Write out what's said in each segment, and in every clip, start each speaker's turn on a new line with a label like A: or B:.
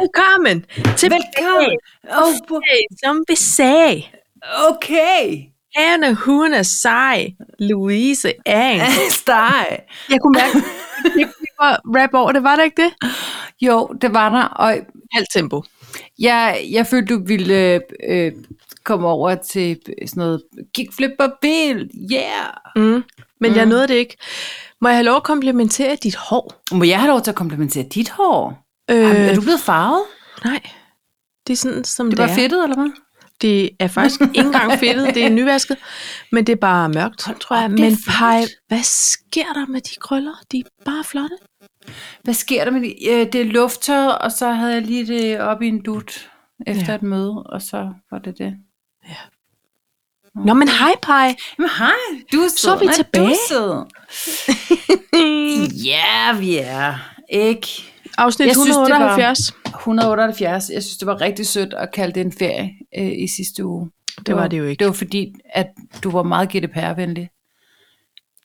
A: Velkommen til
B: Velkommen. Oh, bo-
A: Hey, som vi sagde.
B: okay.
A: Anne, hun er sej. Louise er en.
B: Steg.
A: Jeg kunne mærke, at det var rap over det, var det ikke det?
B: Jo, det var der. Og
A: Halvt tempo.
B: jeg, jeg følte, du ville øh, komme over til sådan noget kickflip og bild. Yeah.
A: Mm. Men mm. jeg
B: Mm.
A: nåede det ikke. Må jeg have lov at komplimentere dit hår?
B: Må jeg have lov til at komplimentere dit hår? Øh,
A: Øh,
B: er du blevet farvet?
A: Nej. Det er sådan, som
B: Det
A: det,
B: var
A: er.
B: fedtet, eller hvad?
A: Det er faktisk ikke engang fedtet, det er nyvasket. Men det er bare mørkt, tror jeg.
B: op, det er
A: Men
B: flot.
A: pej, hvad sker der med de krøller? De er bare flotte.
B: Hvad sker der med det? Øh, det er lufttøjet, og så havde jeg lige det op i en dut efter ja.
A: Ja.
B: et møde, og så var det det.
A: Nå, men hej, Pej.
B: Jamen hej, du er sød.
A: er vi
B: Nej, Du
A: tilbage.
B: er sød. Ja, vi er. Ikke?
A: Afsnit
B: Mm. Jeg synes, det var-
A: 178. Synes, det,
B: 178. Jeg synes, det var rigtig sødt at kalde det en ferie øh, i sidste uge.
A: var, det var det jo ikke.
B: Det var fordi, at du var meget GDPR-venlig.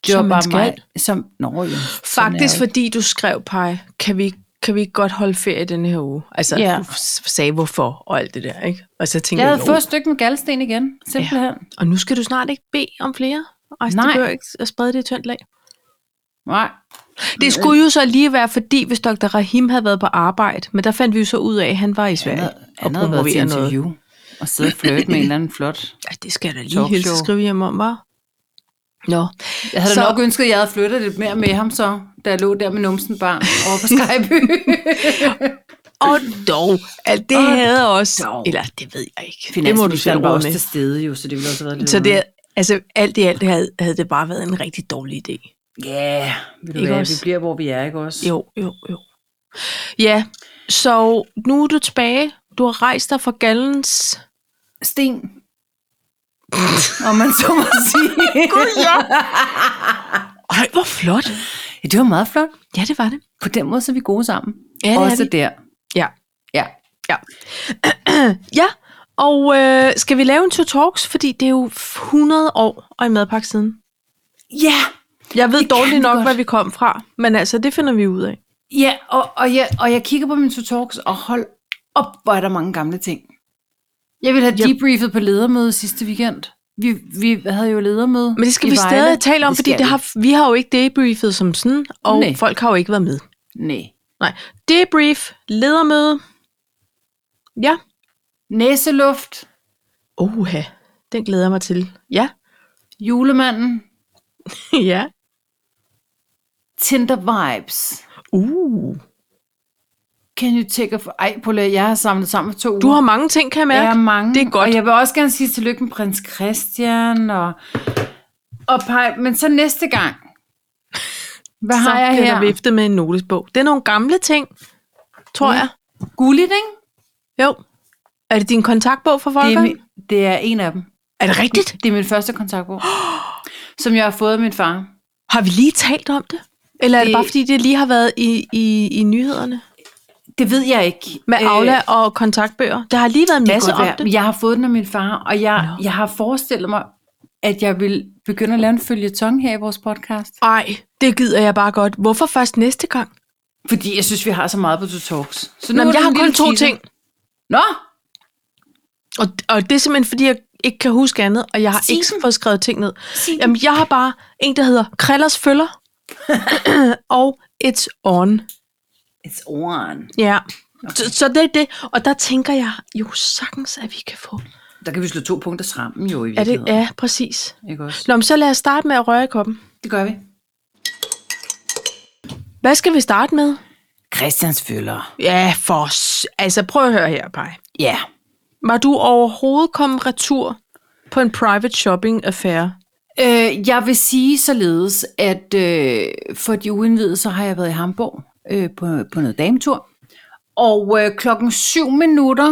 B: Det
A: Som
B: var
A: man
B: bare
A: skal.
B: mig, som... Nå, jo. sådan er jeg
A: Faktisk
B: jo ikke.
A: fordi du skrev, Pej, kan vi, kan vi ikke godt holde ferie denne her uge? Altså,
B: Ja.
A: du f- sagde hvorfor og alt det der, ikke? Og så tænkte
B: Jeg
A: jeg,
B: havde
A: jeg
B: fået et stykke med galsten igen, simpelthen. Ja.
A: og nu skal du snart ikke bede om flere. Og
B: Nej.
A: det behøver ikke at sprede det i tyndt lag.
B: Nej.
A: Det skulle jo så lige være, fordi hvis Dr. Rahim havde været på arbejde, men der fandt vi jo så ud af, at han var i Sverige
B: Han
A: og
B: havde- Han havde været til
A: promoverer noget.
B: interview noget. og sidde og flirte med en eller anden flot.
A: Ej, det skal jeg da lige
B: Talkshow.
A: hilse og skrive hjem om, var. Nå,
B: Jeg havde så...
A: Så-
B: nok ønsket, at jeg havde flyttet lidt mere med ham så, da jeg lå der med numsen barn over på Skyby.
A: og dog, at det
B: Og
A: havde også,
B: dog.
A: eller det ved jeg ikke, det må du selv
B: Finansministeren var
A: råde
B: også
A: med.
B: til stede jo, så det ville også have været lidt
A: Så det,
B: underligt.
A: altså alt i alt havde, havde det bare været en rigtig dårlig idé.
B: Ja, yeah, ved du
A: Ikke
B: hvad,
A: også?
B: vi bliver, hvor vi er, ikke også?
A: Jo, jo, jo. Ja, så nu er du tilbage. Du har rejst dig fra gallens...
B: Sten. Om man så må sige.
A: Ej, hvor flot.
B: ja, det var meget flot.
A: Ja, det var det.
B: På den måde så er vi gode sammen.
A: Ja, det er
B: også
A: vi.
B: der.
A: Ja.
B: Ja.
A: Ja, og øh, skal vi lave en to talks? Fordi det er jo 100 år og i madpakke siden.
B: Ja,
A: Jeg ved
B: Det
A: dårligt
B: kan vi
A: nok,
B: godt.
A: hvad vi kom fra, men altså, det finder vi ud af.
B: ja og, og, jeg, og jeg kigger på min to talks, og hold op, hvor er der mange gamle ting. Jeg ville have
A: Ja.
B: debriefet på ledermødet sidste weekend. Vi, vi havde jo ledermøde
A: Men det skal
B: i
A: vi
B: Vejle.
A: stadig tale om, fordi
B: skal
A: det
B: vi.
A: har, vi har jo ikke debriefet som sådan, og
B: Nej.
A: Nej. folk har jo ikke været med.
B: Nej.
A: Nej. Debrief, ledermøde. Ja.
B: Næseluft,
A: Oha, den glæder jeg mig til. Ja.
B: julemanden,
A: ja.
B: Tinder vibes.
A: Uh.
B: Can you take a... Ej, Paula, jeg har samlet sammen for to uger.
A: Du har mange ting, kan jeg mærke.
B: Jeg er
A: Ja.
B: mange.
A: Det er godt.
B: Og jeg vil også gerne sige tillykke med prins Christian og, og pej, men så næste gang. Hvad
A: så
B: har jeg
A: bliver
B: her?
A: der viftet med en notesbog. Det er nogle gamle ting, tror
B: Mm.
A: jeg.
B: Gulligt, ikke?
A: Jo. Er det din kontaktbog for
B: Det
A: Volker?
B: er, min, det er en af dem.
A: er det rigtigt?
B: Det er min første kontaktbog, som jeg har fået af min far.
A: Har vi lige talt om det? Eller er det
B: Det-
A: bare fordi, det lige har været i, i, i nyhederne?
B: Det ved jeg ikke.
A: Med øh,
B: Øh,
A: Aula og kontaktbøger. Der har lige været en
B: det kan
A: masse
B: godt
A: om
B: være,
A: det.
B: men Jeg har fået den af min far, og jeg,
A: Nå.
B: jeg har forestillet mig, at jeg vil begynde at lave en følgetong her i vores podcast.
A: Ej, det gider jeg bare godt. Hvorfor først næste gang?
B: Fordi jeg synes, vi har så meget på To Talks. Så
A: Nå,
B: er
A: men
B: det
A: jeg
B: en
A: har
B: lille
A: kun to
B: teaser.
A: ting.
B: Nå,
A: Og, og det er simpelthen, fordi jeg ikke kan huske andet, og jeg har
B: Sig
A: ikke
B: dem.
A: fået skrevet ting ned.
B: Sig dem.
A: Jamen, jeg har bare en, der hedder Krellers Følger, og It's On.
B: it's on.
A: Ja, okay. så, så det er det. Og der tænker jeg jo sagtens, at vi kan få.
B: Der kan vi slå to punkter sammen jo i
A: Er det,
B: virkeligheden.
A: ja, præcis.
B: Ikke også?
A: Nå, men så lad os starte med at røre i koppen.
B: Det gør vi.
A: Hvad skal vi starte med?
B: Christians følger.
A: Ja, for... s- Altså, prøv at høre her, Paj.
B: Ja.
A: Var du overhovedet kommet retur på en private shopping affære?
B: Øh, jeg vil sige således, at øh, for de uindvidede, så har jeg været i Hamburg øh, på, på noget dametur. Og øh, klokken 7 minutter,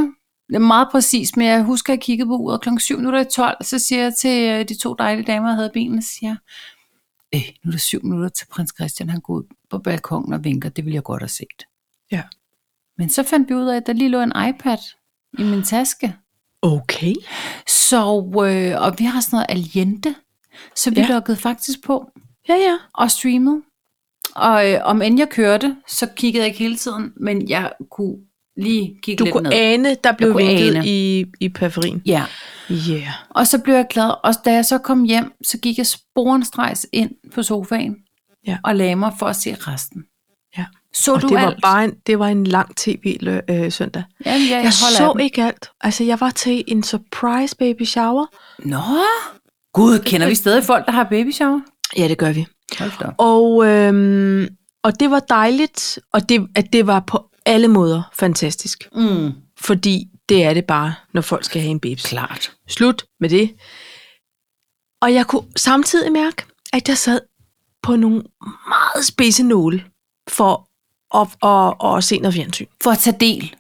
B: det er meget præcis, men jeg husker, at jeg kiggede på uret, klokken 7 minutter i 12, så siger jeg til øh, de to dejlige damer, der havde bilen, så siger jeg, øh, nu er der 7 minutter til prins Christian, han går ud på balkongen og vinker, det ville jeg godt have set.
A: Ja.
B: Men så fandt vi ud af, at der lige lå en iPad i min taske.
A: Okay.
B: Så, øh, og vi har sådan noget aliente, så vi ja.
A: Ja.
B: lukkede faktisk på
A: Ja, ja.
B: og streamede. Og øh, om end jeg kørte, så kiggede jeg ikke hele tiden, men jeg kunne lige kigge
A: Du
B: lidt
A: kunne
B: ned.
A: ane, der blev
B: kunne
A: vinket
B: ane.
A: i, i periferien.
B: Ja,
A: Ja. Yeah.
B: og så blev jeg glad. Og da jeg så kom hjem, så gik jeg sporenstrejs ind på sofaen
A: Ja.
B: og lagde mig for at se resten.
A: Ja.
B: Så
A: Og
B: du
A: det var
B: alt?
A: bare en, det var en lang tv-søndag.
B: Jamen, jeg, jeg,
A: Jeg
B: holder af
A: så
B: den.
A: ikke alt. Altså, jeg var til en surprise baby shower.
B: Nå, gud, kender vi stadig folk, der har baby shower?
A: Ja, det gør vi.
B: Hold da. op.
A: Og, øhm, og det var dejligt, og det, at det var på alle måder fantastisk.
B: Mm,
A: Fordi det er det bare, når folk skal have en babys.
B: klart.
A: Slut med det. Og jeg kunne samtidig mærke, at jeg sad på nogle meget spidse nåle for at, at, at, at se noget fjernsyn
B: For at tage del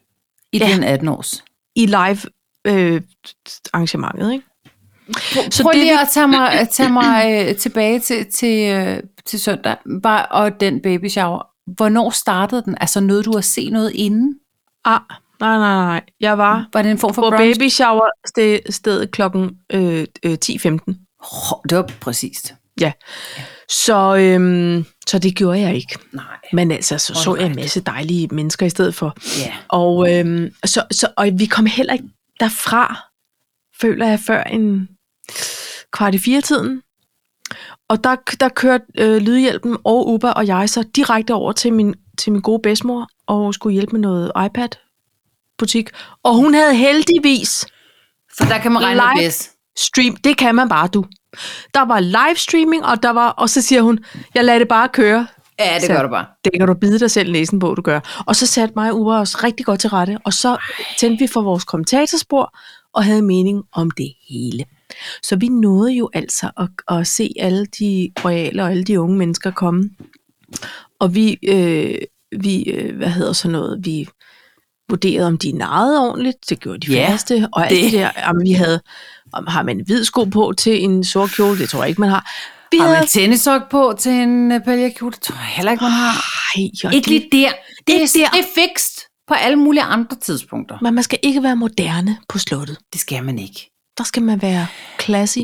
B: i
A: Ja.
B: ja. den 18-års.
A: i live øh, arrangementet. Ikke?
B: Så Prøv det, lige at tage mig, at tage mig øh, tilbage til, til, øh, til søndag, bare, og den baby shower. Hvornår startede den? Altså nåede du at se noget inden?
A: Ah, nej, nej, nej. Jeg var
B: Var det en form for
A: på
B: Mm. brunch?
A: baby shower sted, sted klokken øh, øh, 10.15.
B: Hov, Det var præcist.
A: Ja. Så, øhm, så det gjorde jeg ikke.
B: Nej.
A: Men altså, så så jeg en
B: Alright.
A: masse dejlige mennesker i stedet for.
B: Ja.
A: Og, øhm, så, så, og vi kom heller ikke derfra, føler jeg, før en kvart i fire-tiden. Og der, der kørte øh, Lydhjælpen og Uber og jeg så direkte over til min, til min gode bedsmor og skulle hjælpe med noget iPad-butik. Og hun havde heldigvis
B: For der kan man regne
A: Live.
B: med bedst.
A: stream, det kan man bare, du. Der var livestreaming, og der var, og så siger hun, jeg lader det bare køre.
B: Ja, det
A: Så-
B: gør du bare.
A: Det kan du bide dig selv næsen på, du gør. Og så satte mig og Uber os rigtig godt til rette, og så tændte vi for vores kommentatorspor, og havde mening om det hele. Så vi nåede jo altså at, at se alle de royale og alle de unge mennesker komme. Og vi, øh, vi øh, hvad hedder så noget, vi vurderede, om de narrede ordentligt. Det gjorde de
B: Ja,
A: færreste. Og alt
B: det-
A: det der, om vi havde, om har man en hvid sko på til en sort kjole? Det tror jeg ikke, man har. Vi
B: Har
A: havde...
B: man tennissok på til en øh, paljakjole? Det tror jeg heller ikke, man har.
A: Ej, og
B: Ikke
A: de-
B: lige der. Det,
A: Ikke
B: er,
A: der.
B: det er fikst på alle mulige andre tidspunkter.
A: Men man skal ikke være moderne på slottet.
B: Det skal man ikke.
A: Der skal man være classy.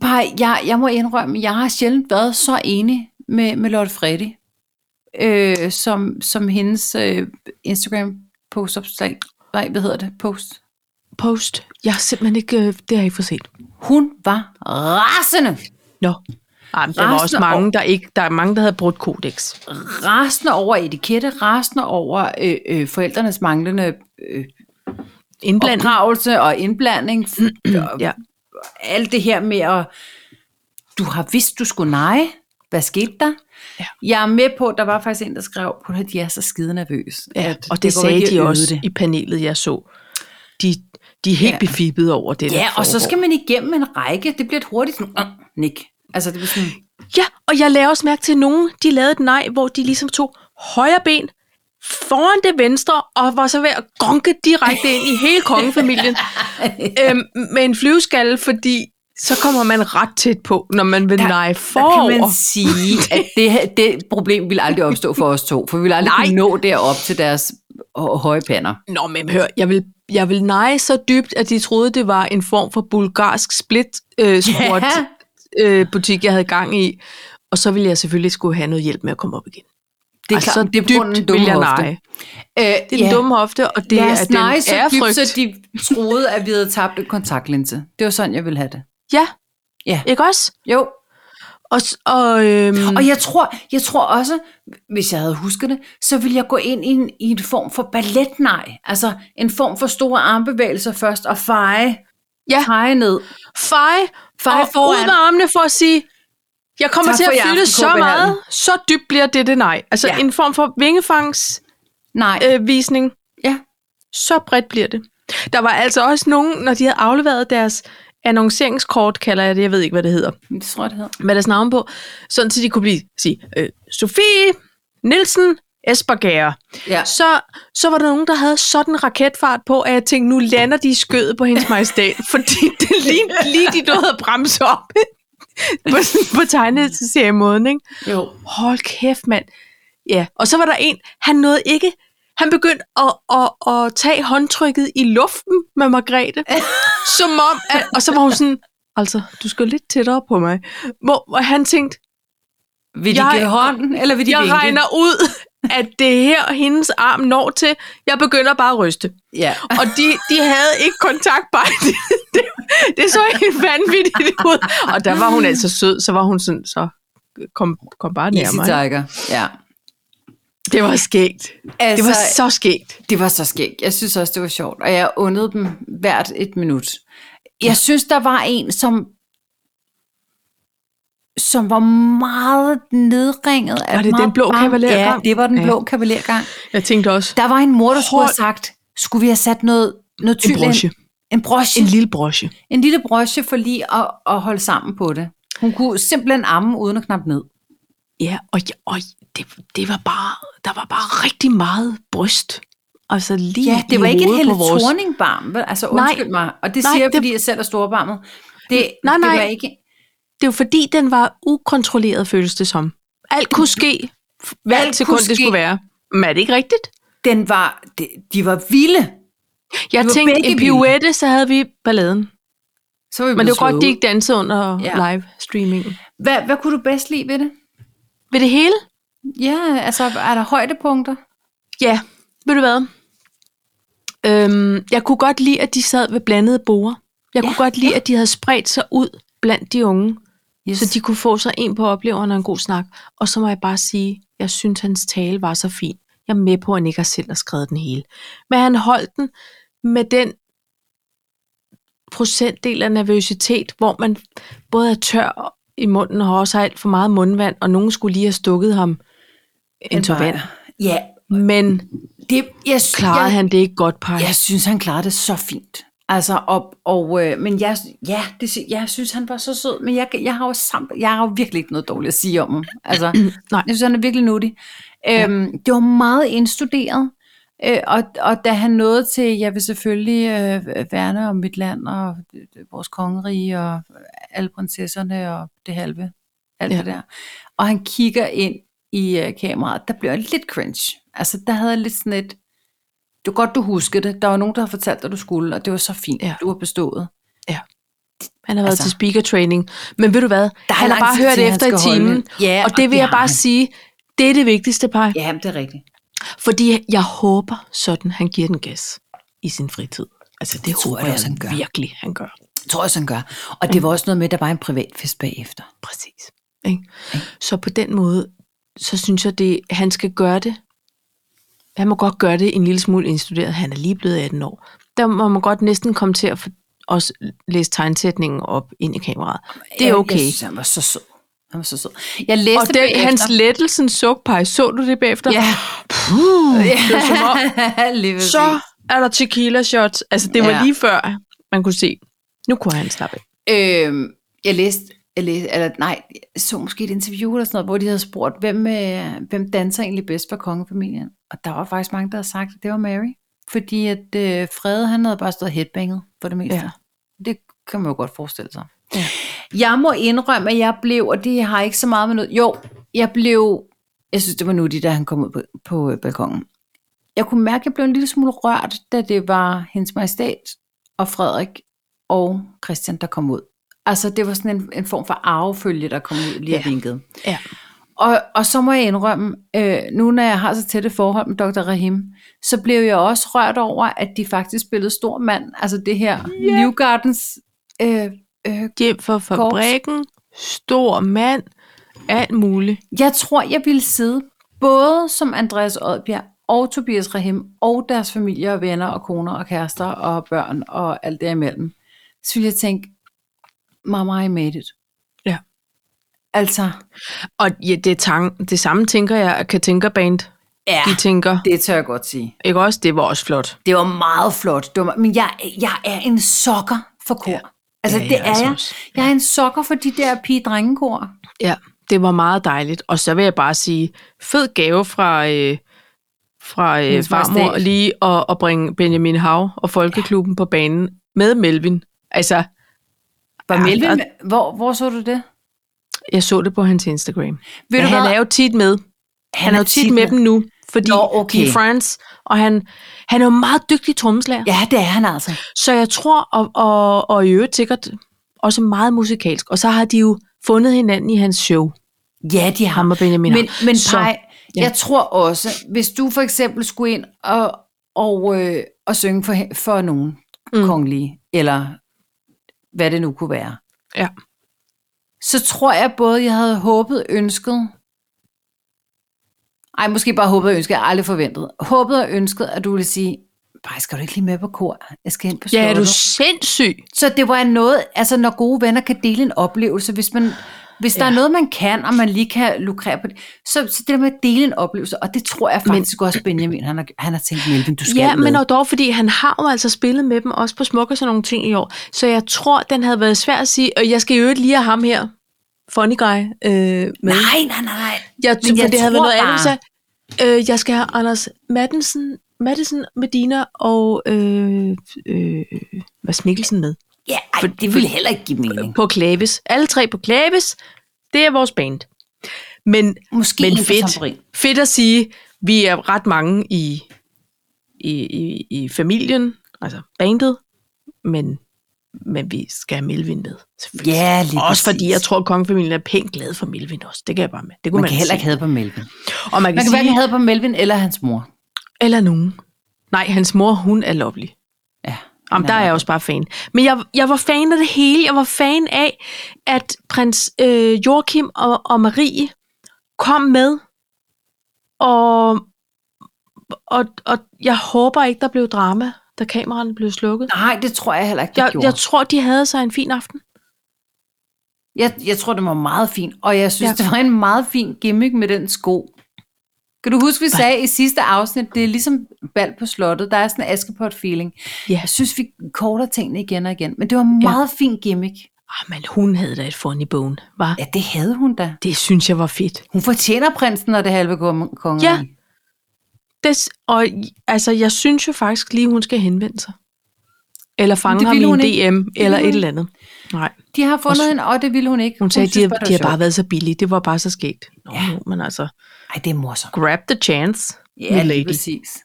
B: Bare, jeg, jeg må indrømme, jeg har sjældent været så enig med, med Lotte Freddy, øh, som, som hendes øh, Instagram postopslag, nej, hvad hedder det, post.
A: Post. Jeg har simpelthen ikke, øh, det har jeg ikke fået set.
B: Hun var rasende,
A: Nå. Ej, men der var
B: Resten
A: også
B: af
A: mange, der, ikke, der er mange, der havde brudt kodex.
B: rasende over etikette, rasende over øh, øh, forældrenes manglende øh,
A: Indblandet.
B: opdragelse og indblanding. og
A: Ja.
B: alt det her med at, du har vidst, du skulle nej. Hvad skete der?
A: Ja.
B: Jeg er med på, der var faktisk en, der skrev, på at de er så skide nervøs.
A: ja. Og
B: at
A: det,
B: går
A: det sagde
B: ikke at
A: de
B: øve
A: også det.
B: det.
A: i panelet, jeg så. De, de er helt ja.
B: Ja.
A: befippet over det, der
B: Ja, og så
A: foregår.
B: skal man igennem en række. Det bliver et hurtigt sådan, "Åh, nik. Altså, det bliver sådan,
A: Ja, og jeg lagde også mærke til at nogen, de lavede et nej, hvor de ligesom tog højre ben foran det venstre, og var så ved at gonke direkte ind i hele kongefamilien øhm, med en flyveskalle, fordi så kommer man ret tæt på, når man vil nej
B: der
A: forover.
B: kan man sige, at det, her- det problem ville aldrig opstå for os to, for vi ville aldrig
A: Nej.
B: kunne nå derop til deres hø- høje pander.
A: Nå, men hør, jeg vil, jeg vil nej så dybt, at de troede, det var en form for bulgarsk split øh, sport,
B: Ja.
A: øh, butik, jeg havde gang i. Og så ville jeg selvfølgelig skulle have noget hjælp med at komme op igen.
B: Det er
A: Altså,
B: klart,
A: så
B: det er på grund af den
A: dybt vil
B: dumme
A: jeg
B: hofte.
A: nej.
B: Øh,
A: Det er den dumme hofte, og det
B: Lad
A: er
B: os
A: den
B: nej, så dybt,
A: ærefrygt.
B: så de troede, at vi havde tabt et kontaktlinse. Det var sådan, jeg ville have det.
A: Ja.
B: Ja.
A: Ikke også?
B: Jo.
A: Og, s- og, øhm, og
B: Og jeg tror, jeg tror også, hvis jeg havde husket det, så ville jeg gå ind i en, i en form for balletnej. Altså en form for store armbevægelser først, og feje,
A: Ja.
B: feje ned.
A: feje,
B: Feje
A: feje og
B: foran.
A: ud med armene for at sige, jeg kommer
B: Tak
A: til
B: for i
A: at fylde
B: aften,
A: så
B: KB Hallen.
A: meget, så dybt bliver det det nej. Altså
B: Ja.
A: ja. en form for vingefangsvisning,
B: Nej, øh.
A: øh, visning.
B: Ja.
A: så bredt bliver det. Der var altså også nogen, når de havde afleveret deres annonceringskort, kalder jeg det, jeg ved ikke, hvad det hedder,
B: det tror jeg, det hedder.
A: med deres navn på, sådan til de kunne blive, sige, øh, Sofie Nielsen Esbergager.
B: Ja.
A: så, så var der nogen, der havde sådan en raketfart på, at jeg tænkte, nu lander de i skødet på hendes majestæt, fordi det lignede lige de nåede at bremse op på, sådan- på tegneseriemåden, ikke?
B: Jo.
A: Hold kæft, mand. Ja, og så var der en, han nåede ikke, han begyndte at, at, at tage håndtrykket i luften med Margrethe, som om, at, og så var hun sådan, altså, du skal lidt tættere på mig. Hvor, hvor han tænkte,
B: Vil de
A: Jeg-
B: give hånden, eller vil de
A: jeg
B: vinke?
A: regner ud, at det er her, hendes arm når til. Jeg begynder bare at ryste.
B: Ja.
A: Og de, de havde ikke kontaktbar. Det, det, det så helt vanvittigt ud. Og der var hun altså sød, så var hun sådan, så kom, kom bare nær
B: Easy
A: mig.
B: tiger. Ja.
A: Det var skægt. Altså, det var så skægt.
B: det var så skægt. Jeg synes også, det var sjovt. Og jeg undede dem hvert et minut. Jeg synes, der var en, som som var meget nedringet. af
A: Var det
B: meget
A: den blå
B: varm-
A: kavalergang?
B: Ja, det var den
A: Ja.
B: blå kavalergang.
A: Jeg tænkte også,
B: Der var en mor, der skulle
A: Hold-
B: have sagt, skulle vi have sat noget, noget tyld
A: en broche.
B: En broche.
A: En lille broche.
B: En lille broche for lige at, at holde sammen på det. Hun kunne simpelthen amme uden at knappe ned.
A: Ja, og, og det, det var bare, der var bare rigtig meget bryst. Altså lige
B: Ja, det
A: i
B: var ikke et
A: hovedet
B: Helle
A: på vores...
B: Thorning-barm, vel? Altså,
A: Nej.
B: undskyld mig. Og det
A: Nej,
B: siger jeg,
A: det-
B: fordi jeg selv er storbarmet. Det,
A: Nej,
B: det
A: nej.
B: var ikke...
A: Det var fordi, den var ukontrolleret, føltes det som. Alt kunne ske,
B: Alt
A: hvert sekund
B: kunne
A: det
B: ske.
A: skulle være. Men er det ikke rigtigt?
B: Den var... De, de var vilde.
A: Jeg
B: Det var
A: tænkte,
B: begge
A: en pirouette, så havde vi balladen.
B: Så var vi
A: Men det
B: blevet
A: var godt, de
B: slået
A: ikke dansede under
B: Ja.
A: ja. live streaming.
B: ud. Hvad, hvad kunne du bedst lide ved det?
A: Ved det hele?
B: Ja, altså, er der højdepunkter?
A: Ja, ved du hvad? Øhm, jeg kunne godt lide, at de sad ved blandede borer. Jeg
B: Ja,
A: ja, kunne godt lide, ja. at de havde spredt sig ud blandt de unge,
B: Yes.
A: så de kunne få sig en på opleveren og en god snak. Og så må jeg bare sige, jeg synes, hans tale var så fin. Jeg er med på, at han ikke har selv har skrevet den hele. Men han holdt den med den procentdel af nervøsitet, hvor man både er tør i munden og også har alt for meget mundvand, og nogen skulle lige have stukket ham en tår vand.
B: Ja,
A: Men
B: det... Jeg,
A: klarede
B: jeg,
A: han det ikke godt, Paj?
B: Jeg synes, han klarede det så fint. Altså, og, og øh, men jeg, ja, det, sy- jeg synes, han var så sød, men jeg, jeg har jo samt, jeg har jo virkelig ikke noget dårligt at sige om ham. Altså,
A: Nej.
B: Jeg synes, han er virkelig nuttig. Øhm, Det var meget indstuderet, øh, og, og da han nåede til, jeg vil selvfølgelig øh, værne om mit land, og øh, vores kongerige, og øh, alle prinsesserne, og det halve, alt ja.
A: Ja.
B: det der. Og han kigger ind i øh, kameraet, der blev jeg lidt cringe. Altså, der havde jeg lidt sådan et, det var godt, du huskede det. Der var nogen, der havde fortalt dig, du skulle, og det var så fint, ja.
A: Ja.
B: du har bestået.
A: Han har været
B: altså-
A: altså, til speaker training. Men ved du hvad? Der han
B: lang
A: har bare
B: tid
A: hørt
B: til, han
A: efter i
B: skal holde
A: timen.
B: det. Ja,
A: og det vil jeg
B: har
A: bare
B: han.
A: sige, det er det vigtigste, Paj.
B: Ja, men det er rigtigt.
A: Fordi jeg håber sådan, han giver den gas i sin fritid. Altså det, det
B: tror
A: håber
B: jeg
A: jeg,
B: også, han gør.
A: virkelig, han gør.
B: Jeg tror også, han gør. Og det var også noget med, at der var en privatfest bagefter.
A: Præcis. Ikke? Så på den måde, så synes jeg, det, han skal gøre det. Han må godt gøre det en lille smule indstuderet. Han er lige blevet 18 år. Der må man godt næsten komme til at få- også læse tegnsætningen op ind i kameraet. Det er
B: Jeg-
A: okay.
B: Jeg, synes, han var så sød. Han var så sød. Jeg læste
A: Og den,
B: bagefter.
A: hans lettelsen sukpej, så du det bagefter?
B: Ja.
A: Puh, det var som om,
B: Lige præcis.
A: så er der tequila shots. Altså, det var
B: Ja.
A: ja. lige før, man kunne se. Nu kunne han slappe af.
B: Øhm, jeg læste, jeg læste, eller nej, jeg så måske et interview eller sådan noget, hvor de havde spurgt, hvem, øh, hvem danser egentlig bedst for kongefamilien? Og der var faktisk mange, der havde sagt, at det var Mary. Fordi at øh, Frede, han havde bare stået headbanget for det meste. Ja.
A: Ja.
B: Det kan man jo godt forestille sig.
A: Ja.
B: Jeg må indrømme, at jeg blev, og det har ikke så meget med noget, jo, jeg blev, jeg synes, det var nuttigt, da han kom ud på, på øh, balkongen. Jeg kunne mærke, at jeg blev en lille smule rørt, da det var hendes majestæt og Frederik og Christian, der kom ud. Altså, det var sådan en, en form for arvefølge, der kom ud lige ja.
A: Ja.
B: vinket.
A: Ja.
B: Og, og så må jeg indrømme, øh, nu når jeg har så tætte forhold med Dr. Rahim, så blev jeg også rørt over, at de faktisk spillede stor mand. Altså det her yeah. New Gardens øh, øh,
A: Hjem fra fabrikken, stor mand, alt muligt.
B: Jeg tror, jeg ville sidde både som Andreas Oddbjerg og Tobias Rahim og deres familier og venner og koner og kærester og børn og alt derimellem. Så ville jeg tænke, mamma, I made it.
A: Ja.
B: Altså,
A: Og ja, det, er tang, det samme tænker jeg, at Katinka Band,
B: ja,
A: de tænker.
B: det tør jeg godt sige.
A: Ikke også? Det var også flot.
B: Det var meget flot. Det var, men jeg, jeg er en sokker for kor. Ja. Altså,
A: Ja,
B: det
A: jeg er
B: er
A: altså
B: jeg.
A: også.
B: Jeg er en sokker for de der pige-drengekor.
A: Ja, det var meget dejligt. Og så vil jeg bare sige, fed gave fra, øh, fra øh,
B: Hendes
A: farmor
B: Majestæt.
A: lige at, at bringe Benjamin Hav og Folkeklubben ja. på banen med Melvin. Altså,
B: Var
A: Ja,
B: Melvin
A: og-
B: med- hvor, hvor så du det?
A: jeg så det på hans Instagram.
B: Ved
A: Men
B: du
A: han
B: hvad?
A: er jo tit med. Han er jo tit med dem nu, fordi
B: Nå,
A: Nå,
B: okay.
A: okay. de er friends, og han, han er jo meget dygtig trommeslager. Ja.
B: Ja, det er han altså.
A: Så jeg tror, og, og, og i øvrigt sikkert også meget musikalsk. Og så har de jo fundet hinanden i hans show,
B: Ja, de har.
A: ham og Benjamin
B: Men,
A: Hav.
B: men
A: Så-
B: Paj,
A: Ja.
B: Ja. Jeg tror også, hvis du for eksempel skulle ind og, og, øh, og synge for, for nogen
A: Mm.
B: mm. kongelige, eller hvad det nu kunne være,
A: Ja.
B: så tror jeg både, jeg havde håbet, ønsket, ej, måske bare håbet og ønsket, jeg har aldrig forventet, håbet og ønsket, at du ville sige, bare skal du ikke lige med på kor? Jeg skal ind på
A: Ja, er du
B: slottet."
A: sindssyg?
B: Så det var noget, altså når gode venner kan dele en oplevelse, hvis man hvis der
A: Ja.
B: er noget, man kan, og man lige kan lukrere på det, så, så det der med at dele en oplevelse, og det tror jeg
A: Men-
B: faktisk men, også, Benjamin, han har, han har tænkt, Melvin, du skal
A: Ja,
B: med.
A: men og dog, fordi han har jo altså spillet med dem også på smuk og sådan nogle ting i år. Så jeg tror, den havde været svær at sige, og jeg skal jo ikke lige have ham her, funny guy, øh, med.
B: Nej, nej, nej.
A: jeg,
B: men
A: for
B: jeg
A: det havde været
B: tror
A: noget andet, hvis
B: bare-
A: jeg, øh, jeg skal have Anders Maddensen, Maddensen Medina og øh, øh, Mads Mikkelsen med.
B: Ja, ej, det ville heller ikke give mening.
A: På Klaves. Alle tre på Klaves. Det er vores band. Men
B: Måske
A: Øh, Men
B: en på
A: fedt.
B: tamburin.
A: fedt at sige, vi er ret mange i, i, i, i familien, altså bandet, men, men vi skal have Melvin med. selvfølgelig.
B: Ja, lige
A: også fordi
B: præcis.
A: jeg tror, at kongefamilien er pænt glad for Melvin også. Det kan jeg bare med. Det kunne
B: man,
A: man,
B: kan heller
A: sige.
B: ikke have på Melvin.
A: Og man kan,
B: Man kan
A: sige,
B: hverken have på Melvin eller hans mor.
A: eller nogen. Nej, hans mor, hun er lovely.
B: Ja.
A: Jamen, der er jeg også bare fan. Men jeg, jeg var fan af det hele. Jeg var fan af, at prins øh, Joachim og, og Marie kom med. Og, og, og jeg håber ikke, der blev drama, da kameraerne blev slukket.
B: Nej, det tror jeg heller ikke, det
A: Jeg,
B: gjorde.
A: jeg tror, de havde sig en fin aften.
B: Jeg, jeg tror, det var meget fint, og jeg synes,
A: Ja.
B: ja. det var en meget fin gimmick med den sko. Kan du huske, vi sagde i sidste afsnit, det er ligesom bal på slottet, der er sådan en Askepot-feeling.
A: Ja.
B: Jeg synes, vi korter tingene igen og igen, men det var en meget ja. fin gimmick.
A: Ah, men hun havde da et funny bone, var.
B: Ja, det havde hun da.
A: Det synes jeg var fedt.
B: Hun fortjener prinsen og det halve kon- kongerige.
A: Ja. Des, og altså, jeg synes jo faktisk lige, hun skal henvende sig. Eller fange
B: det
A: ham i
B: ville
A: en
B: hun ikke.
A: DM, eller
B: ville
A: et
B: hun
A: eller andet. Nej.
B: De har fundet
A: Også-
B: hende, og det ville hun ikke.
A: Hun sagde, at de,
B: synes
A: har-
B: det
A: de
B: var
A: har bare
B: sjovt.
A: været så billige. Det var bare så skægt. Nå, ja.
B: Ja.
A: men altså,
B: Ej, det er morsomt.
A: grab the chance,
B: Ja,
A: my
B: lige
A: lady.
B: præcis.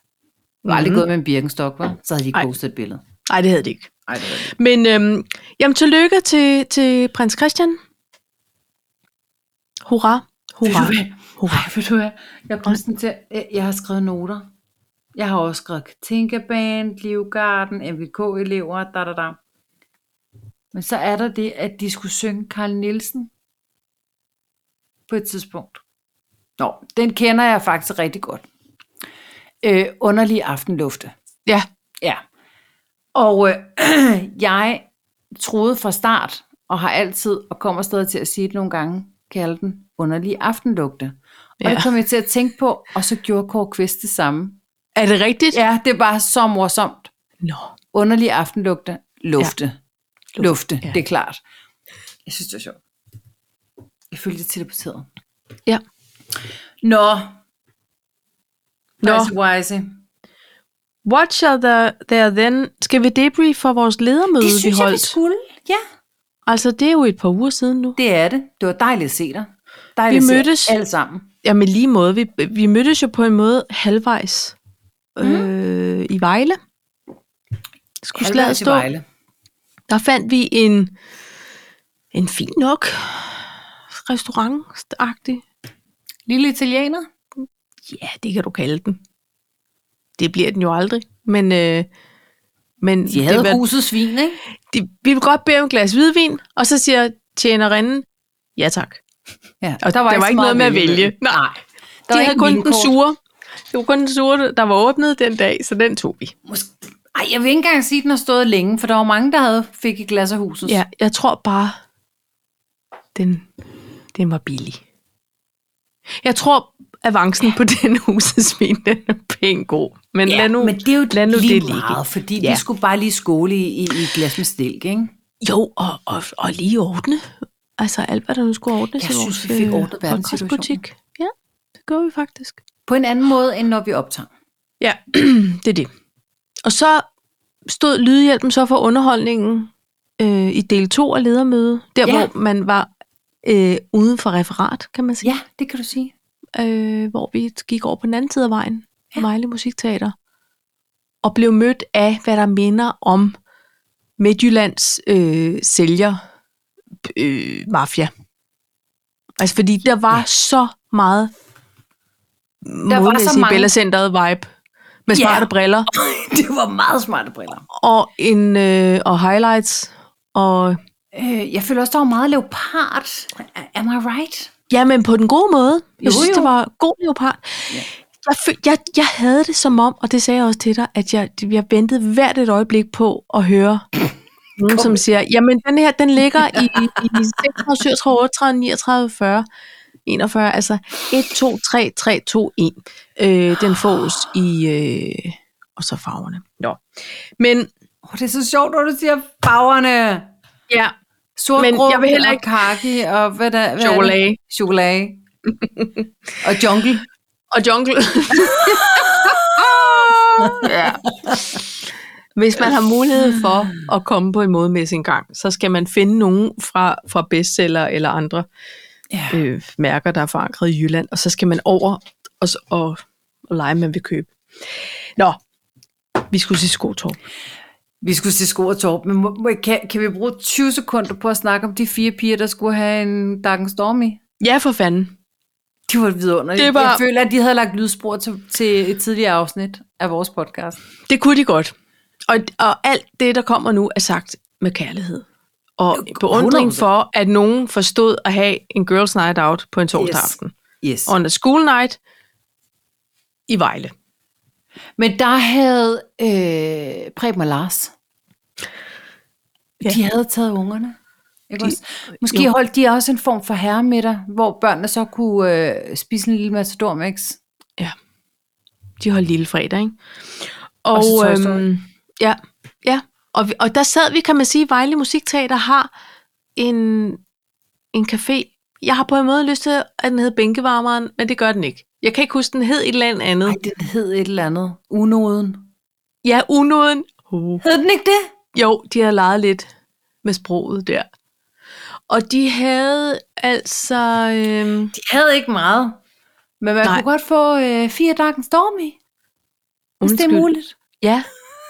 B: Du har aldrig
A: Mhm.
B: gået med en birkenstok, var? Så havde de ikke
A: Ej.
B: postet et billede.
A: Nej, det havde de ikke.
B: Ej, det var det.
A: Men øhm, jamen, tillykke til, til prins Christian. Hurra, hurra,
B: Ved du hvad?
A: hurra.
B: Ej, ved du hvad? Jeg, kom sådan til, jeg, jeg har skrevet noter. Jeg har også skrevet Tinkerband, Livgarden, MVK-elever, da, da, da. Men så er der det, at de skulle synge Karl Nielsen på et tidspunkt. Nå, den kender jeg faktisk rigtig godt. Øh, underlig aftenlufte.
A: Ja,
B: Ja. Og øh, jeg troede fra start, og har altid, og kommer stadig til at sige det nogle gange, kalde den underlige aftenlugte. Og
A: Ja.
B: det kom jeg til at tænke på, og så gjorde Kåre Kvist det samme.
A: er det rigtigt?
B: Ja, det var så morsomt.
A: Nå,
B: Underlige aftenlugte, lufte, ja. lufte,
A: ja.
B: ja. det er klart. Jeg synes, det var sjovt. Jeg følte det teleporteret.
A: Ja.
B: Nå,
A: Nå.
B: Nå. Wise.
A: what shall there, there then? Skal vi debrief for vores ledermøde, vi holdt?
B: skulle. Ja,
A: Altså, det er jo et par uger siden nu.
B: det er det. Det var dejligt at se dig. Dejligt
A: Vi
B: at se
A: mødtes.
B: alle sammen.
A: Jamen lige måde. Vi, vi mødtes jo på en måde halvvejs
B: Mhm.
A: øh, i Vejle. Skulle
B: Halvvejs
A: slaget
B: i
A: stå.
B: Vejle.
A: Der fandt vi en, en fin nok restaurant -agtig.
B: Lille italiener?
A: Ja, det kan du kalde den. Det bliver den jo aldrig. Men, øh, men
B: De havde
A: det var,
B: huset svin, ikke?
A: de, vi vil godt bede om et glas hvidvin, og så siger tjenerinden, ja tak.
B: Ja,
A: Og der var, der var ikke noget med at vælge. Nej,
B: Der
A: de
B: var
A: havde
B: ikke
A: kun den
B: vinkort.
A: sure. Det var kun den sure, der var åbnet den dag, så den tog vi.
B: Måske... Ej, jeg vil ikke engang sige, at den har stået længe, for der var mange, der havde fik et glas af huset.
A: Ja, jeg tror bare, den, den var billig. Jeg tror, avancen på den husesvin, den er pænt god. Men ja, lad nu,
B: men det er jo
A: lad nu
B: lige
A: det ligge.
B: meget, fordi
A: Ja.
B: vi skulle bare lige skåle i, i, i et glas med stilk, ikke?
A: Jo, og, og, og lige ordne. Altså alt, hvad der nu skulle ordnes
B: Jeg
A: i
B: synes,
A: vores
B: vi fik
A: øh,
B: ordnet verdenssituationen.
A: podcastbutik. Ja, det gør vi faktisk.
B: På en anden måde, end når vi optager.
A: Ja, det er det. Og så stod lydhjælpen så for underholdningen øh, i del 2 af ledermøde. Der,
B: Ja.
A: hvor man var øh, uden for referat, kan man sige.
B: Ja, det kan du sige.
A: øh, hvor vi gik over på den anden side af vejen, ja. Vejle Musikteater, og blev mødt af, hvad der minder om Midtjyllands øh, sælger øh, mafia. Altså fordi der var ja. så meget der var så mange... Bella Centeret vibe. Med
B: Ja.
A: smarte briller
B: det var meget smarte briller.
A: og, en, øh, og highlights. Og,
B: Øh, jeg føler også, der var meget leopard. Am I right?
A: ja, men på den gode måde. Jeg
B: Jo,
A: jo, synes,
B: jo.
A: jo. det var god leopard.
B: Ja.
A: Ja. Jeg, føl, jeg, jeg havde det som om, og det sagde jeg også til dig, at jeg, jeg ventede hvert et øjeblik på at høre nogen,
B: Kom
A: som
B: med.
A: siger, jamen den her, den ligger i, i 36, 38, 39, 40, 41, altså 1, 2, 3, 3, 2, 1. Øh, den fås i, øh, og så farverne. Nå. Men,
B: Oh, det er så sjovt, når du siger farverne.
A: ja,
B: Sort,
A: Men
B: grå,
A: jeg vil heller
B: og
A: ikke-
B: kaki og hvad der... Hvad er det?
A: Chokolade.
B: Chokolade. og jungle.
A: og jungle. ja. Hvis man har mulighed for at komme på en modemesse en gang, så skal man finde nogen fra, fra bestseller eller andre
B: Ja.
A: øh, mærker, der er forankret i Jylland, og så skal man over og, s- og, og lege, man vil købe. Nå, vi skulle sige skotorp.
B: Vi skulle se sko og torp, men må, må, kan, kan vi bruge 20 sekunder på at snakke om de fire piger, der skulle have en Dark and Stormy?
A: Ja, for fanden.
B: De var vidunderlige.
A: Det var-
B: Jeg føler, at de havde lagt lydspor til, til et tidligere afsnit af vores podcast.
A: Det kunne de godt. Og, og alt det, der kommer nu, er sagt med kærlighed. Og beundring
B: 100%.
A: for, at nogen forstod at have en girls night out på en torsdag
B: Yes.
A: aften.
B: Yes.
A: on a school night i Vejle.
B: Men der havde øh, Preben og Lars, ja.
A: Ja.
B: de havde taget ungerne. Ikke
A: De-
B: også? Måske
A: jo.
B: holdt de også en form for herremiddag, hvor børnene så kunne øh, spise en lille matador mix.
A: De holdt lille fredag, ikke? Og,
B: Og så Toy Story.
A: øhm, ja, ja. Og, vi, og der sad vi, kan man sige, Vejle Musikteater har en, en café. Jeg har på en måde lyst til, at den hed Bænkevarmeren, men det gør den ikke. Jeg kan ikke huske, den hed et eller andet andet.
B: Nej, den hed et eller andet. Unoden.
A: Ja, Unoden. Uh.
B: Hed den ikke det?
A: Jo, de har leget lidt med sproget der. Og de havde altså... Øhm,
B: De havde ikke meget. Men man
A: Nej.
B: kunne godt få øh, fire Dark and Stormy, hvis det
A: undskyld.
B: er muligt.
A: Ja,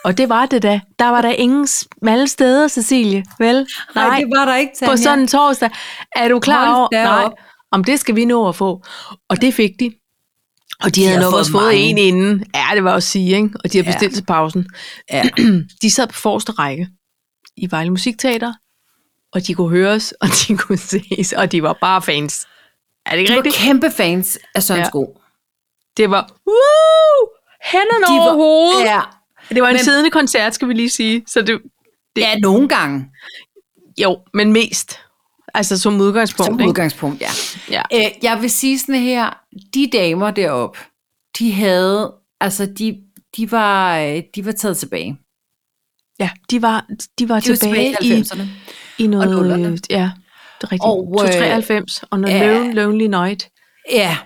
A: og det var det da. Der var der ingen smalle steder, Cecilie, vel?
B: Nej,
A: Nej,
B: det var der ikke, Tanja.
A: på sådan en torsdag. Er du klar
B: Hold
A: over?
B: da
A: Nej,
B: op.
A: om det skal vi nå at få. Og det fik de. Og de,
B: De
A: havde
B: har
A: nok
B: fået
A: også fået
B: mange.
A: en inden. Ja, det var også sige, ikke? Og de har
B: Ja.
A: bestilt til pausen.
B: Ja.
A: De sad på forreste række i Vejle Musikteater, og de kunne høres, og de kunne ses, og de var bare fans. Er det ikke
B: De var
A: rigtigt?
B: kæmpe fans af Sørens
A: Ja.
B: sko.
A: Det var, woo! Hænderne
B: De
A: over
B: var-
A: hovedet.
B: Ja.
A: Det var en
B: Men-
A: men, siddende koncert, skal vi lige sige. Så det, det,
B: ja, nogle gange.
A: Jo, men mest. Altså som udgangspunkt.
B: Som
A: ikke?
B: udgangspunkt, ja.
A: Ja.
B: Øh, jeg vil sige sådan her, de damer deroppe, de havde, altså de, de, var, øh, de var taget tilbage.
A: Ja, de var, de var
B: De var
A: tilbage
B: tilbage i
A: i,
B: 90'erne.
A: i noget...
B: og nullerne.
A: ja, det er rigtigt.
B: Og, øh,
A: Og, 93 og noget
B: ja.
A: ja. lone, Lonely Night.
B: Ja,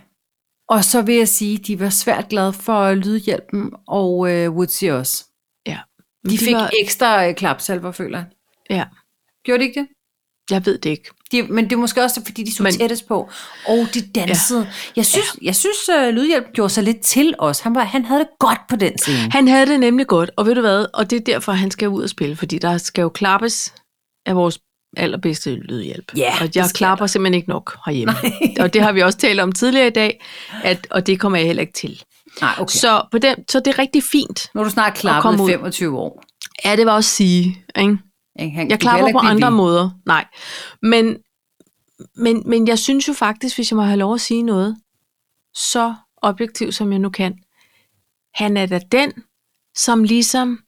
B: og så vil jeg sige, de var svært glade for Lydhjælpen og øh, Woodsy også.
A: Ja.
B: De, de fik var...
A: var,
B: ekstra øh, klapsalver, føler jeg.
A: ja,
B: Gjorde de ikke det?
A: jeg ved det ikke.
B: De, men det er måske også, fordi de så men,
A: Men-
B: tættest på, og de dansede. Ja. Jeg synes, ja. jeg synes uh, Lydhjælp gjorde sig lidt til os. Han, var, han havde det godt på den scene.
A: Han havde det nemlig godt, og ved du hvad? Og det er derfor, han skal ud og spille, fordi der skal jo klappes af vores allerbedste lydhjælp.
B: Ja,
A: og
B: det
A: jeg
B: skal
A: klapper simpelthen ikke nok herhjemme. Nej. Og det har vi også talt om tidligere i dag, at, og det kommer jeg heller ikke til.
B: Nej, okay.
A: Okay.
B: Så,
A: Så, på den, så det er rigtig fint,
B: nu er du snart klappet
A: kom ud.
B: 25 år.
A: Ja, det var også sige. Ikke? Jeg
B: Ikke? Han, du kan heller
A: klapper
B: ikke
A: på
B: blive
A: andre
B: ved.
A: måder. Nej. Men, men, men jeg synes jo faktisk, hvis jeg må have lov at sige noget, så objektivt som jeg nu kan, han er da den, som ligesom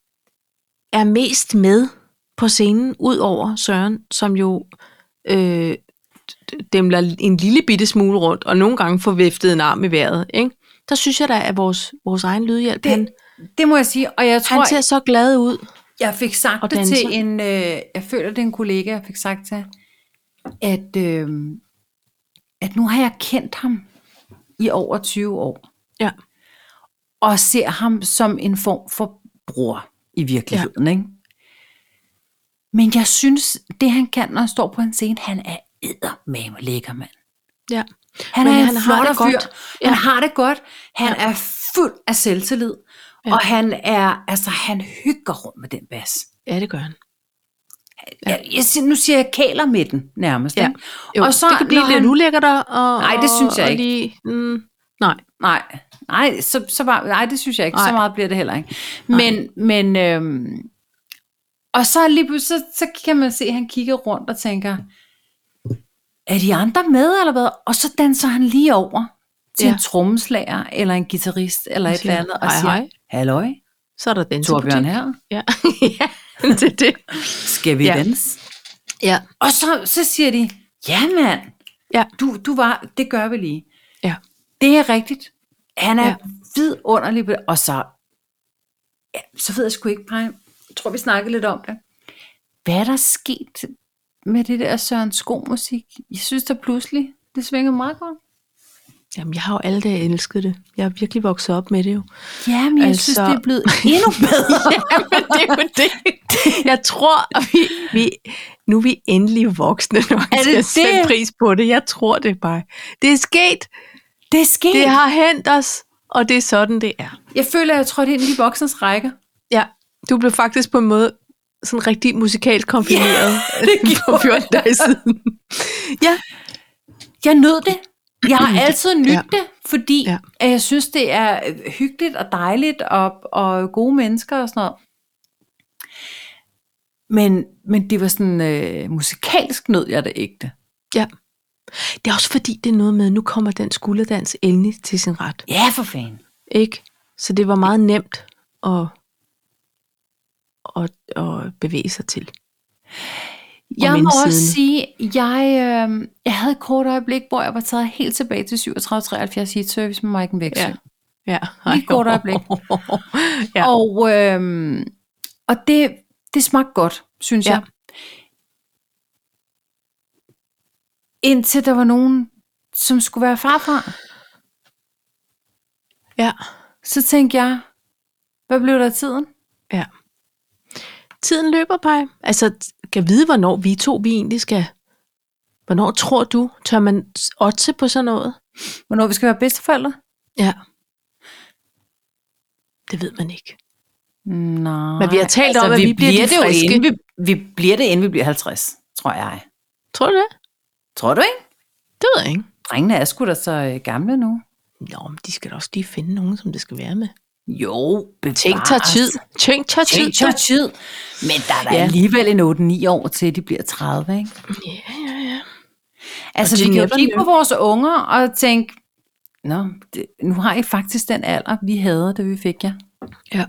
A: er mest med på scenen, ud over Søren, som jo øh, demler en lille bitte smule rundt, og nogle gange får viftet en arm i vejret. Ikke? Der synes jeg da, at vores, vores egen lydhjælp, det, han,
B: Det må jeg sige, og jeg tror,
A: han ser så glad ud.
B: jeg fik sagt
A: og
B: det
A: danser.
B: til en, øh, jeg føler det er en kollega, jeg fik sagt til, at, øh, at nu har jeg kendt ham i over 20 år,
A: Ja.
B: og ser ham som en form for bror i virkeligheden. Ja. Ikke? Men jeg synes, det han kan, når han står på en scene, han er eddermame lækker, mand.
A: ja.
B: Han
A: Men
B: er
A: han
B: en
A: har
B: flot
A: det
B: fyr.
A: godt.
B: Ja. Han
A: Ja.
B: har det godt. Han ja. er fuld af selvtillid. Ja.
A: Ja.
B: Og han er, altså han hygger rundt med den bas.
A: Ja, det gør han.
B: Ja. Jeg, jeg, siger- nu siger jeg kæler med den nærmest.
A: Ja.
B: ikke?
A: Jo,
B: og så,
A: det kan blive
B: når
A: lidt
B: han,
A: ulækkert og, og
B: Nej, det synes jeg
A: og
B: ikke.
A: Lige, mm, nej,
B: Nej, nej, så, så var, nej, det synes jeg ikke. Nej. Så
A: Nej.
B: meget bliver det heller ikke. Men, men øhm, og så lige pludselig, så, så kan man se, at han kigger rundt og tænker, er de andre med eller hvad? Og så danser han lige over til ja.
A: Ja.
B: en trommeslager eller en guitarist eller
A: Han
B: et eller
A: siger,
B: andet og
A: "Hej,
B: siger,
A: hej."
B: halløj,
A: Så er der den
B: Torbjørn her,
A: Ja. ja, det er det.
B: skal vi ja.
A: Ja.
B: danse?
A: Ja.
B: Og så, så siger de, ja mand,
A: Ja.
B: du, du var, det gør vi lige.
A: Ja.
B: Det er rigtigt. Han er ja.
A: Ja.
B: vidunderlig. på- Og så, ja, så ved jeg sgu ikke, Brian. Jeg tror, vi snakkede lidt om det. Hvad er der sket med det der Søren Sko-musik? Jeg synes da pludselig, det svinger meget godt.
A: Jamen, jeg har jo alle dage elsket det. Jeg har virkelig vokset op med det jo.
B: Ja, men jeg
A: Altså-
B: altså... synes, det er blevet endnu bedre.
A: Jamen, det er jo det. Jeg tror, at vi, vi, nu er vi endelig voksne nok
B: Er det
A: til at sætte
B: det?
A: pris på det. Jeg tror det bare. Det er sket.
B: det er sket.
A: Det har hent os, og det er sådan, det er.
B: Jeg føler, jeg tror, det er en de voksnes rækker.
A: Ja, du blev faktisk på en måde sådan rigtig musikalt konfirmeret
B: Ja, det
A: for 14 dage siden. Ja,
B: Jeg nød det. Jeg har altid nydt ja.
A: Ja.
B: det, fordi ja.
A: Ja.
B: jeg synes, det er øh, hyggeligt og dejligt og, og gode mennesker og sådan noget. Men, men det var sådan, øh, musikalsk nød jeg det ægte.
A: ja. Det er også fordi, det er noget med, at nu kommer den skulderdans endelig til sin ret.
B: Ja, for fanden.
A: Ikke? Så det var meget nemt at, at, at bevæge sig til.
B: Jeg må
A: indsiden.
B: også sige, jeg, øh, jeg havde et kort øjeblik, hvor jeg var taget helt tilbage til 37-73 hit service med Mike Væksø. Ja.
A: Ja. Ja.
B: Lige et kort øjeblik.
A: Ja.
B: Og, øh, og det, det smagte godt, synes ja.
A: Ja.
B: jeg. Indtil der var nogen, som skulle være farfar.
A: Ja.
B: Så tænkte jeg, hvad blev der af tiden?
A: ja. Tiden løber, Paj. Altså, kan vide, hvornår vi to vi egentlig skal... Hvornår tror du, tør man s- otte på sådan noget?
B: Hvornår vi skal være bedsteforældre?
A: Ja. Det ved man ikke.
B: Nej.
A: Men vi har talt
B: Altså,
A: om, at altså, vi bliver de
B: jo
A: friske.
B: inden vi, vi bliver det, inden vi bliver 50, tror jeg.
A: Tror du det?
B: Tror du ikke?
A: Det ved jeg ikke.
B: Drengene er sgu da så øh, gamle nu.
A: Nå, men de skal da også lige finde nogen, som det skal være med.
B: Jo, bevares.
A: Ting tager tid. Ting tager tid.
B: Ting tager tid. Men der er da ja.
A: Ja.
B: alligevel en 8-9 år til, de bliver 30, ikke?
A: Ja, ja, ja.
B: Altså,
A: Og
B: vi
A: de
B: kan jo
A: never
B: kigge på
A: know.
B: vores unger og tænke, Nå, det, nu har I faktisk den alder, vi havde, da vi fik jer.
A: Ja,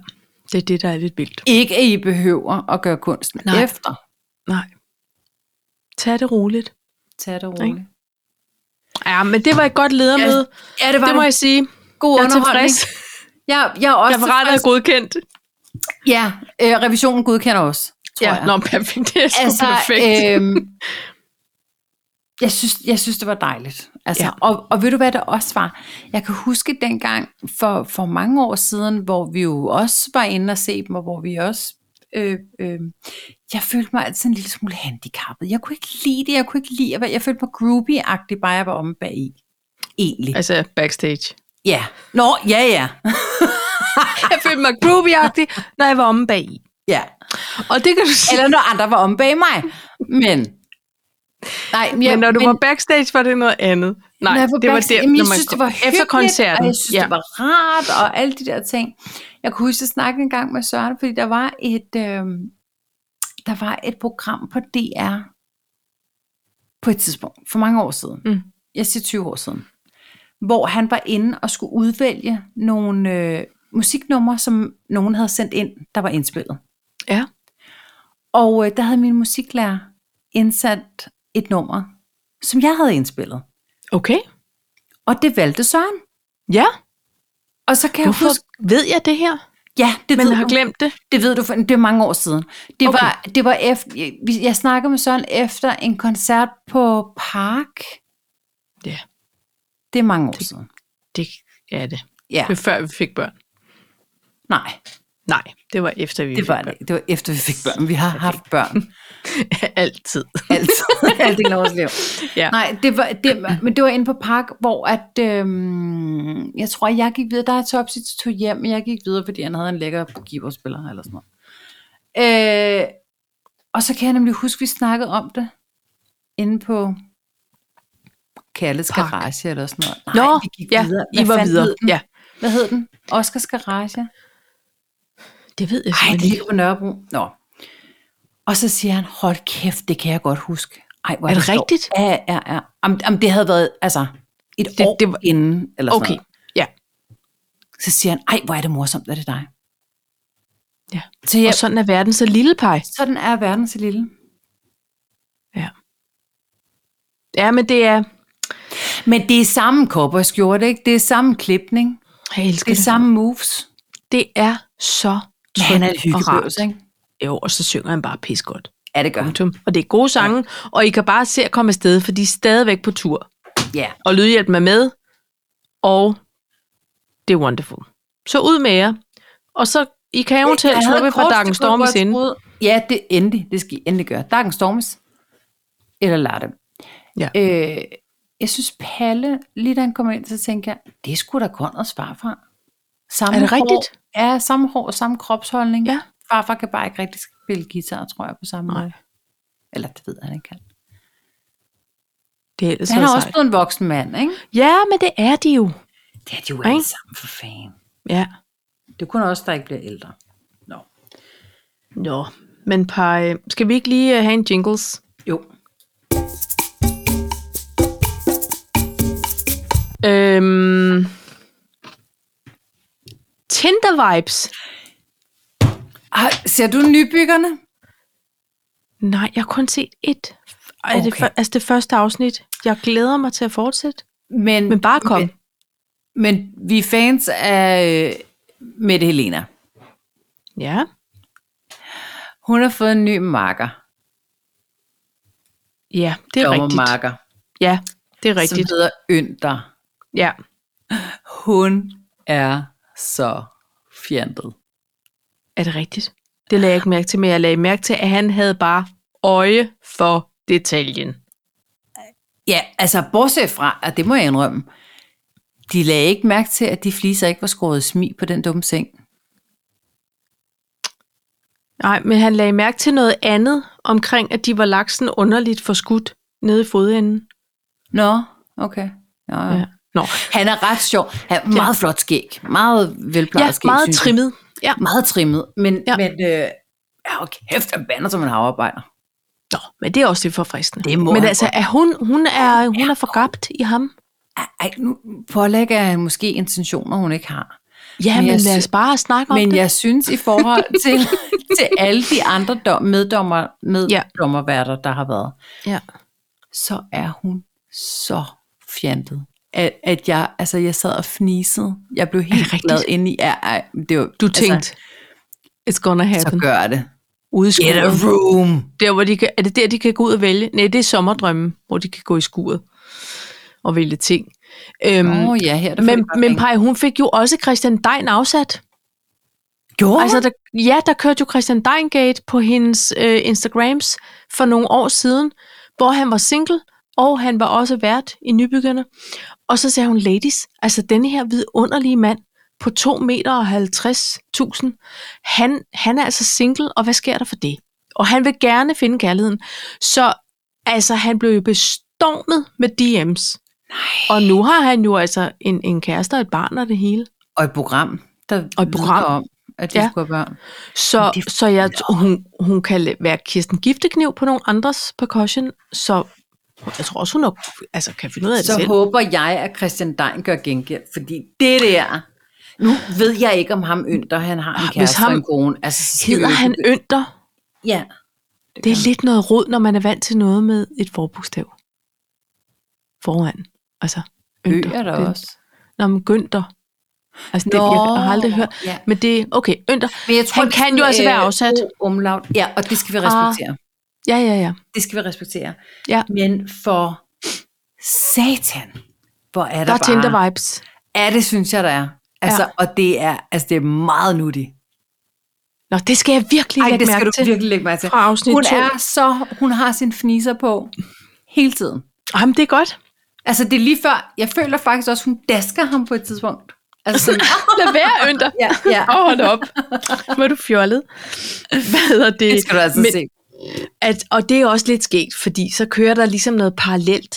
A: det er det, der er lidt vildt.
B: Ikke at I behøver at gøre kunsten Nej.
A: Nej.
B: efter.
A: Nej. Tag det roligt.
B: Tag det roligt.
A: Ja, men det var et godt ledermøde.
B: Ja, ja, det var
A: det må jeg sige.
B: God
A: Jeg er
B: underholdning.
A: tilfreds.
B: Jeg, jeg er også
A: Referatet er
B: tilfreds.
A: godkendt.
B: Ja, øh, revisionen godkender os, tror
A: Ja,
B: jeg.
A: nå, perfekt. Det er så
B: altså,
A: altså, perfekt. Øh,
B: øhm, jeg, synes, jeg synes, det var dejligt. Altså, ja.
A: Ja.
B: og, og ved du, hvad det også var? Jeg kan huske dengang for, for mange år siden, hvor vi jo også var inde og se dem, og hvor vi også... Øh, øh, jeg følte mig altid en lille smule handicappet. Jeg kunne ikke lide det, jeg kunne ikke lide at være... Jeg følte mig groovy-agtig, bare jeg var omme bag i. Egentlig.
A: altså, backstage.
B: Ja. Nå, ja, ja.
A: Jeg følte mig groovy når jeg var omme bag i.
B: ja.
A: Og det kan du sige.
B: Eller når andre var omme bag mig. Men... Nej,
A: ja, men når du men, var backstage, var det noget andet. Nej,
B: Når jeg var
A: det var
B: backstage-
A: der,
B: Jamen, jeg
A: når man
B: synes,
A: kom-
B: det var hyggeligt,
A: efter koncerten.
B: Og jeg synes, ja. det var rart, og alle de der ting. Jeg kunne huske at snakke en gang med Søren, fordi der var et, øh, der var et program på DR på et tidspunkt, for mange år siden.
A: Mm.
B: Jeg siger 20 år siden. Hvor han var inde og skulle udvælge nogle øh, musiknumre, som nogen havde sendt ind, der var indspillet.
A: Ja.
B: Og øh, der havde min musiklærer indsat et nummer, som jeg havde indspillet.
A: Okay.
B: Og det valgte Søren.
A: Ja,
B: Og så kan
A: hvorfor
B: jeg huske,
A: ved jeg det her,
B: ja, det
A: men
B: ved,
A: jeg har
B: du,
A: glemt det?
B: det ved du, for det er mange år siden. Det okay.
A: Okay.
B: var, det var efter, jeg, vi- jeg snakkede med Søren efter en koncert på Park.
A: Ja.
B: Det er mange år det. siden.
A: Det er det.
B: Ja,
A: Det var før vi fik børn.
B: nej,
A: Nej, det var efter vi
B: det
A: fik
B: var,
A: børn.
B: det. ikke. det var efter vi fik børn. Vi har haft børn
A: Altid.
B: altid. Alt i vores liv.
A: Ja.
B: Nej, det var, det, var- men det var inde på Park, hvor at, øhm, jeg tror, jeg gik videre. Der er Topsy tog hjem, men jeg gik videre, fordi han havde en lækker keyboardspiller eller sådan noget. Øh, og så kan jeg nemlig huske, vi snakkede om det inde på Kalles
A: Park.
B: Garage eller sådan noget. Nej,
A: Nå,
B: vi gik
A: ja,
B: videre.
A: I var
B: fanden
A: videre.
B: Hed den?
A: Ja.
B: Hvad hed den? Oscars Garage?
A: Det ved jeg
B: Ej, det
A: simpelthen ikke.
B: ligger på Nørrebro. Nå. Og så siger han, hold kæft, det kan jeg godt huske. Ej, hvor
A: Er det
B: sjovt.
A: rigtigt?
B: Ja, ja, ja. Jamen, jamen, det havde været altså, et det,
A: Det-
B: år
A: det
B: det var... inden. Eller sådan
A: Okay,
B: noget.
A: ja.
B: Så siger han, ej, hvor er det morsomt, er det dig?
A: Ja.
B: Så jeg,
A: Og sådan er verden så lille, pej.
B: sådan er verden så lille.
A: Ja, men det er...
B: Men det er samme kopper og skjorte, ikke? Det er samme klipning.
A: Jeg elsker
B: Det er
A: det.
B: samme moves.
A: Det er så
B: Men
A: trygt og rart.
B: hyggebøs, ikke?
A: Jo, og så synger han bare pis godt.
B: Ja, det gør han.
A: Punktum. Og det er gode sange, og I kan bare se at komme afsted, for de er stadigvæk på tur.
B: Ja.
A: Og Lydhjælpen er med, og det er wonderful. Så ud med jer, og så i kan jo til
B: Jeg
A: at
B: havde
A: truppe
B: kort
A: fra Dagen
B: sekund, hvor
A: Stormes
B: jeg
A: inde.
B: troede- Ja, det endelig. Det skal I endelig gøre. Dagen Stormes. Eller Latte.
A: Ja.
B: Øh, jeg synes, Palle, lige da han kom ind, så tænkte jeg, det skulle da Konrads farfar. Samme
A: Er det
B: hår,
A: rigtigt?
B: Ja, samme hår, samme kropsholdning.
A: Ja.
B: Farfar kan bare ikke rigtig spille guitar, tror jeg, på samme
A: Nej.
B: måde. Eller det ved jeg, han ikke kan.
A: Det er ellers
B: Han
A: så
B: er også
A: sejt.
B: blevet en voksen mand, ikke?
A: Ja, men det er de jo.
B: Det er de jo
A: Ikke?
B: alle sammen, for fanden.
A: Ja.
B: Det kunne også, der ikke bliver ældre. Nå.
A: Nå, men Paj, skal vi ikke lige øh, have en jingles?
B: Jo.
A: Øhm, Tinder vibes.
B: Ah, ser du nybyggerne?
A: Nej, jeg har kun set et. Okay. Er det,
B: Okay.
A: for, altså det første afsnit. Jeg glæder mig til at fortsætte.
B: Men,
A: Men bare kom.
B: Men, men vi er fans af øh, Mette Helena.
A: Ja.
B: Hun har fået en ny marker.
A: Ja, det er rigtigt.
B: Dommermarker,
A: Ja, det er
B: Rigtigt.
A: rigtigt.
B: Som hedder Ynder.
A: Ja.
B: Hun er så fjantet.
A: Er det rigtigt? Det lagde jeg ikke mærke til, men jeg lagde mærke til, at han havde bare øje for detaljen.
B: Ja, altså bortset fra, at det må jeg indrømme, de lagde ikke mærke til, at de fliser ikke var skåret i smi på den dumme seng.
A: Nej, men han lagde mærke til noget andet omkring, at de var laksen underligt forskudt nede i fodenden.
B: Nå, okay. Nå, ja.
A: Ja.
B: Ja.
A: Nå.
B: Han er ret sjov. Han er meget flot skæg. Meget velplejet
A: Ja,
B: skæg.
A: meget
B: synes jeg.
A: trimmet. Ja.
B: Meget trimmet. Men,
A: Ja.
B: ja. men øh, ja, og kæft, han bander som en havarbejder.
A: Nå, men det er også lidt forfriskende.
B: Det må
A: men
B: han
A: altså,
B: godt.
A: er hun, hun er, hun er forgabt i ham.
B: Ej, Ej, nu pålægger jeg hende måske intentioner, hun ikke har.
A: Ja, men,
B: Men
A: men
B: jeg
A: lad
B: sy-
A: os bare snakke om
B: Men
A: det.
B: jeg synes i forhold til, til alle de andre dom, meddommer,
A: Ja.
B: meddommerværter, der har været,
A: Ja.
B: så er hun så fjantet. At, at jeg, altså, jeg sad og fnisede. Jeg blev helt
A: rigtigt?
B: glad inde i. Ja, ej, det var,
A: Du tænkte, it's gonna
B: altså, så
A: happen.
B: gør det.
A: Ude i
B: Get a
A: skuret.
B: room.
A: Der, hvor de kan, er det der, de kan gå ud og vælge? Nej, det er sommerdrømme, hvor de kan gå i skuret og vælge ting. Øhm,
B: Åh oh, ja, her er det
A: men
B: faktisk
A: men
B: ikke.
A: Paj, hun fik jo også Christian Dein afsat.
B: Gjorde
A: Altså,
B: altså,
A: der, ja, der kørte jo Christian Deingate på hendes øh, Instagrams for nogle år siden, hvor han var single, og han var også vært i Nybyggerne. Og så sagde hun, ladies, altså denne her vidunderlige mand på 2 meter og 50.000, han, han er altså single, og hvad sker der for det? Og han vil gerne finde kærligheden. Så altså, han blev jo bestormet med DM's. Nej. Og nu har han jo altså en, en kæreste og et barn og det hele.
B: Og et program, der
A: Og et program.
B: vidner om, at de
A: Ja.
B: ja. skulle have børn.
A: Så,
B: Men det-
A: så jeg, hun, hun kan la- være Kirsten Giftekniv på nogle andres percussion, så jeg tror også, hun nok, altså, kan finde ud af det
B: Så
A: selv.
B: håber jeg, at Christian Dein gør gengæld, fordi det der... Nu ved jeg ikke, om ham ynder, han har en
A: Ah, hvis
B: kæreste
A: ham-
B: og en kone. Altså, så skal vi
A: Hedder
B: jo ikke-
A: han Ønder?
B: Ja.
A: Det er lidt noget rod, når man er vant til noget med et forbogstav. Foran. Altså,
B: Ø er der
A: Det-
B: også.
A: Nå, men Gønter. Altså, det, jeg har aldrig
B: Nå,
A: hørt.
B: ja.
A: Men det, okay, Ønder.
B: Men jeg tror,
A: Han
B: det er
A: kan jo
B: sådan,
A: altså være
B: øh,
A: afsat.
B: O- Umlaut. Ja, og det skal vi respektere. Ah.
A: Ja, ja, ja.
B: Det skal vi respektere.
A: Ja.
B: Men for satan, hvor er der,
A: Der er
B: bare...
A: Tinder vibes.
B: Ja, det synes jeg, der er. Altså, ja. og det er, altså, det er meget nuttigt.
A: Nå, det skal jeg virkelig
B: Ej,
A: lægge
B: det
A: mærke
B: skal du
A: til.
B: virkelig lægge mærke til.
A: Fra afsnit
B: hun
A: to.
B: er så, hun har sin fniser på hele tiden.
A: Jamen, det er godt.
B: Altså det er lige før, jeg føler faktisk også, hun dasker ham på et tidspunkt. Altså sådan,
A: Lad være, Ønder.
B: ja, ja.
A: Åh, oh, hold op. Hvor er du fjollet. Hvad hedder det?
B: Det skal du altså
A: Men-
B: se.
A: At, og det er også lidt skægt, fordi så kører der ligesom noget parallelt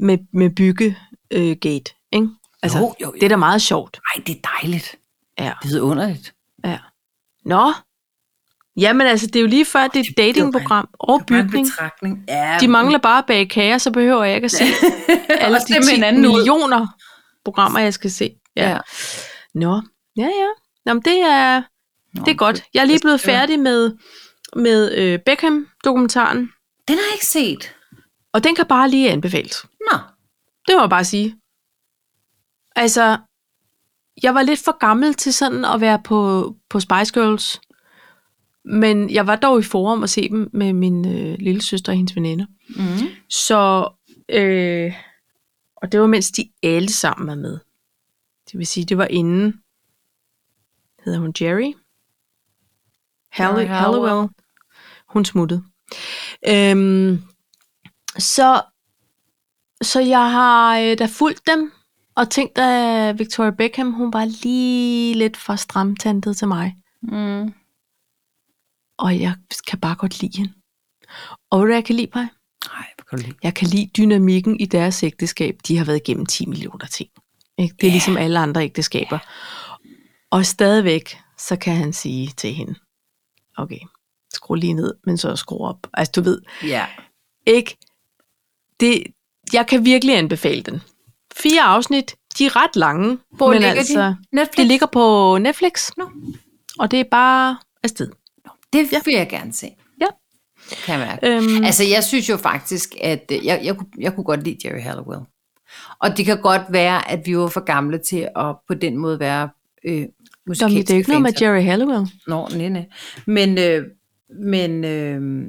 A: med, med byggegate, øh, gate, ikke? Altså,
B: Jo, jo, jo.
A: det er da meget sjovt.
B: Ej, det er dejligt.
A: Ja.
B: Det er underligt.
A: ja. Nå. Jamen altså, det er jo lige før, det er et datingprogram og bygning.
B: betragtning. Ja,
A: De mangler bare bag kager, så behøver jeg ikke at se alle
B: Også det
A: de
B: med
A: 10
B: hinanden ud.
A: millioner programmer, jeg skal se.
B: Ja.
A: Nå, ja, ja. Nå, men det er,
B: Nå,
A: det er godt. Jeg er lige
B: det-
A: blevet
B: det var-
A: færdig med, med øh, Beckham-dokumentaren,
B: Den har jeg ikke set.
A: og den kan bare lige anbefales.
B: Nå.
A: Det må jeg bare sige. Altså, jeg var lidt for gammel til sådan at være på, på Spice Girls, men jeg var dog i forum og se dem med min øh, lille søster og hendes veninder.
B: Mm.
A: Så, øh, og det var mens de alle sammen var med. Det vil sige, det var inden, hedder hun Jerry? Hall-
B: Jerry Halliwell.
A: Halliwell. Hun smuttede. Øhm, så, så jeg har øh, da fulgt dem, og tænkt, at Victoria Beckham, hun var lige lidt for stramtantet til mig
B: Mm.
A: og jeg kan bare godt lide hende. Og ved du, hvad jeg kan lide, Paj?
B: Ej, hvor kan du lide.
A: Jeg kan lide dynamikken i deres ægteskab. De har været igennem 10 millioner ting. Ikke? Det er
B: Ja.
A: yeah. ligesom alle andre ægteskaber. Og stadigvæk, så kan han sige til hende, okay, skru lige ned, men så skru op. Altså, du ved,
B: Ja.
A: ikke? Det, jeg kan virkelig anbefale den. Fire afsnit, de er ret lange.
B: Hvor
A: men
B: ligger
A: altså,
B: de? Netflix?
A: Det ligger på Netflix
B: Nå.
A: nu, og det er bare afsted.
B: Det vil jeg gerne se.
A: Ja.
B: Kan jeg mærke.
A: Øhm,
B: Altså, jeg synes jo faktisk, at øh, jeg, jeg, kunne, jeg kunne godt lide Jerry Halliwell. Og det kan godt være, at vi var for gamle til at på den måde være øh,
A: Jamen, det er jo ikke noget med Jerry Halliwell.
B: Nå, nej, nej. Men, øh, men øh,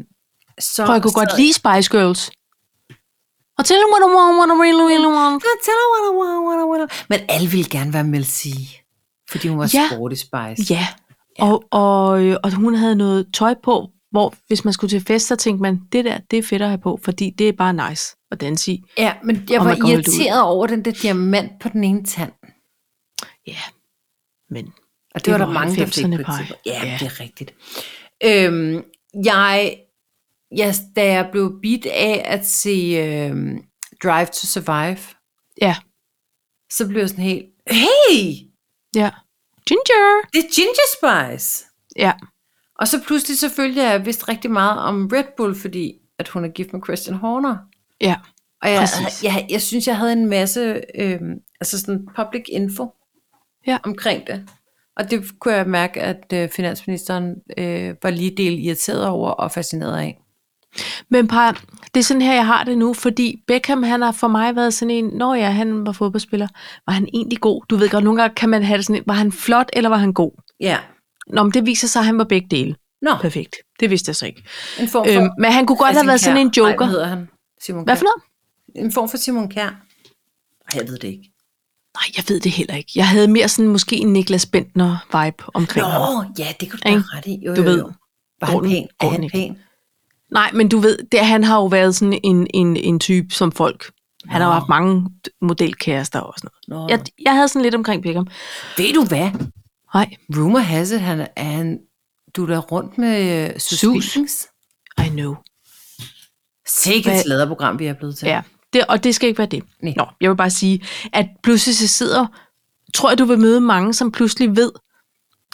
B: så...
A: Prøv, jeg kunne
B: så,
A: godt lide Spice Girls. Og tell them what I want, what I really, really want.
B: Nå, tell her, what I want, what I want. Men alle ville gerne være Mel C. Fordi hun var
A: Ja.
B: ja. sporty spice.
A: Ja, og, og, øh, og hun havde noget tøj på, hvor hvis man skulle til fest, så tænkte man, det der, det er fedt at have på, fordi det er bare nice at danse i.
B: Ja, men jeg
A: Og
B: var
A: man kan holde det ud.
B: irriteret over den der diamant på den ene tand.
A: Ja, men
B: Og
A: Det
B: det, det var der
A: var
B: mange, der fik på
A: 90'erne
B: et
A: pie.
B: tidspunkt. Ja,
A: Ja.
B: ja, det er rigtigt. Øhm, jeg, jeg, da jeg blev bit af at se øhm, Drive to Survive,
A: ja,
B: så blev jeg sådan helt, hey,
A: ja. Ginger!
B: det er Ginger Spice.
A: Ja,
B: Og så pludselig så følte jeg vidst rigtig meget om Red Bull, fordi at hun er gift med Christian Horner.
A: ja,
B: Og jeg,
A: Præcis.
B: jeg, jeg, jeg synes, jeg havde en masse øhm, altså sådan public info
A: Ja.
B: omkring det. Og det kunne jeg mærke, at øh, finansministeren øh, var lige del irriteret over og fascineret af.
A: men par, det er sådan her, jeg har det nu, fordi Beckham, han har for mig været sådan en, når ja, han var fodboldspiller, var han egentlig god? Du ved godt, nogle gange kan man have det sådan, en, var han flot, eller var han god?
B: Ja.
A: Nå, men det viser sig, at han var begge dele.
B: Nå,
A: Perfekt. Det vidste jeg så ikke.
B: en form for...
A: Øhm, men han kunne godt have
B: Christian
A: været sådan
B: Kjær.
A: en joker.
B: Nej, hvad hedder han? Simon
A: Hvad for noget?
B: noget? En form for Simon Kær. Ej, jeg ved det ikke.
A: Nej, jeg ved det heller ikke. Jeg havde mere sådan måske en Niklas Bentner-vibe omkring
B: Nå,
A: ham.
B: ja, det kunne du da
A: Ikke?
B: have ret i. Jo,
A: Du
B: jo,
A: ved,
B: jo. Var han
A: går den-
B: pæn?
A: går
B: Er
A: den
B: han
A: ikke?
B: pæn?
A: Nej, men du ved, det, han har jo været sådan en, en, en type som folk. Han har jo
B: Nå.
A: haft mange d- modelkærester og sådan noget.
B: Nå.
A: Jeg, jeg havde sådan lidt omkring Beckham.
B: Ved du hvad?
A: Nej,
B: Rumor has it, han, er han dutter rundt med øh, Sus.
A: Sus.
B: Sus.
A: I know.
B: Sikkert
A: Hvad-
B: et sladderprogram, vi er blevet til.
A: Ja, det, og det skal ikke være det.
B: Nej.
A: Nå, jeg vil bare sige, at pludselig så sidder... Tror jeg, du vil møde mange, som pludselig ved,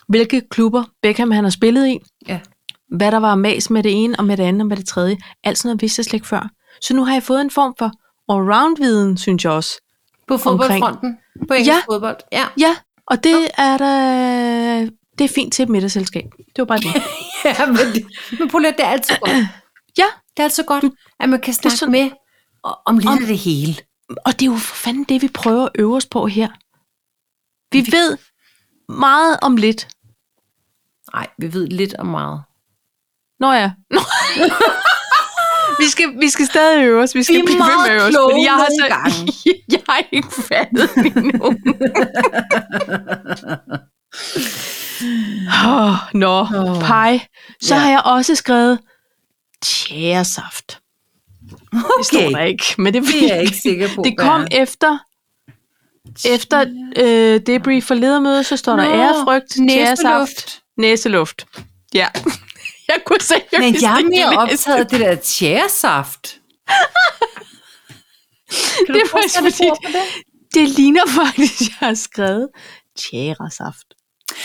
A: hvilke klubber Beckham han har spillet i,
B: Ja.
A: hvad der var mas med det ene og med det andet og med det tredje. Alt sådan noget vidste jeg slet ikke før. Så nu har jeg fået en form for allround-viden, synes jeg også.
B: På fodboldfronten. På engelsk
A: Ja.
B: ja. fodbold. Ja.
A: Ja, og det er da... Det er fint til et middagsselskab. Det var bare det.
B: ja men, det- men prøv lige, det er altid godt.
A: ja,
B: Det er altid godt, at man kan snakke
A: sådan-
B: med o- om lidt om, af det hele.
A: og det er jo for fanden det, vi prøver at øve os på her. Vi ved meget om lidt.
B: Nej, vi ved lidt om meget.
A: Nå ja. Nå. vi, skal, vi skal stadig øve os. Vi skal
B: Vi er
A: blive ved
B: meget
A: med at øve os.
B: kloge
A: fordi jeg har
B: nogle
A: så,
B: gange.
A: jeg har ikke fattet det endnu. oh, nå,
B: Åh.
A: pej. Så
B: Ja.
A: har jeg også skrevet tjæresaft. Det står der ikke, men det,
B: Det er jeg ikke sikker på.
A: Det
B: hvad
A: kom
B: er.
A: efter, efter øh, debrief for ledermøde, så står der
B: Nå,
A: ærefrygt, tjæresaft,
B: næseluft.
A: næseluft. Ja, jeg kunne se, jeg
B: Men
A: vidste
B: jeg er
A: ikke
B: mere
A: det næste.
B: optaget af det der tjæresaft.
A: Kan det er faktisk fordi, det ligner faktisk, jeg har skrevet tjæresaft.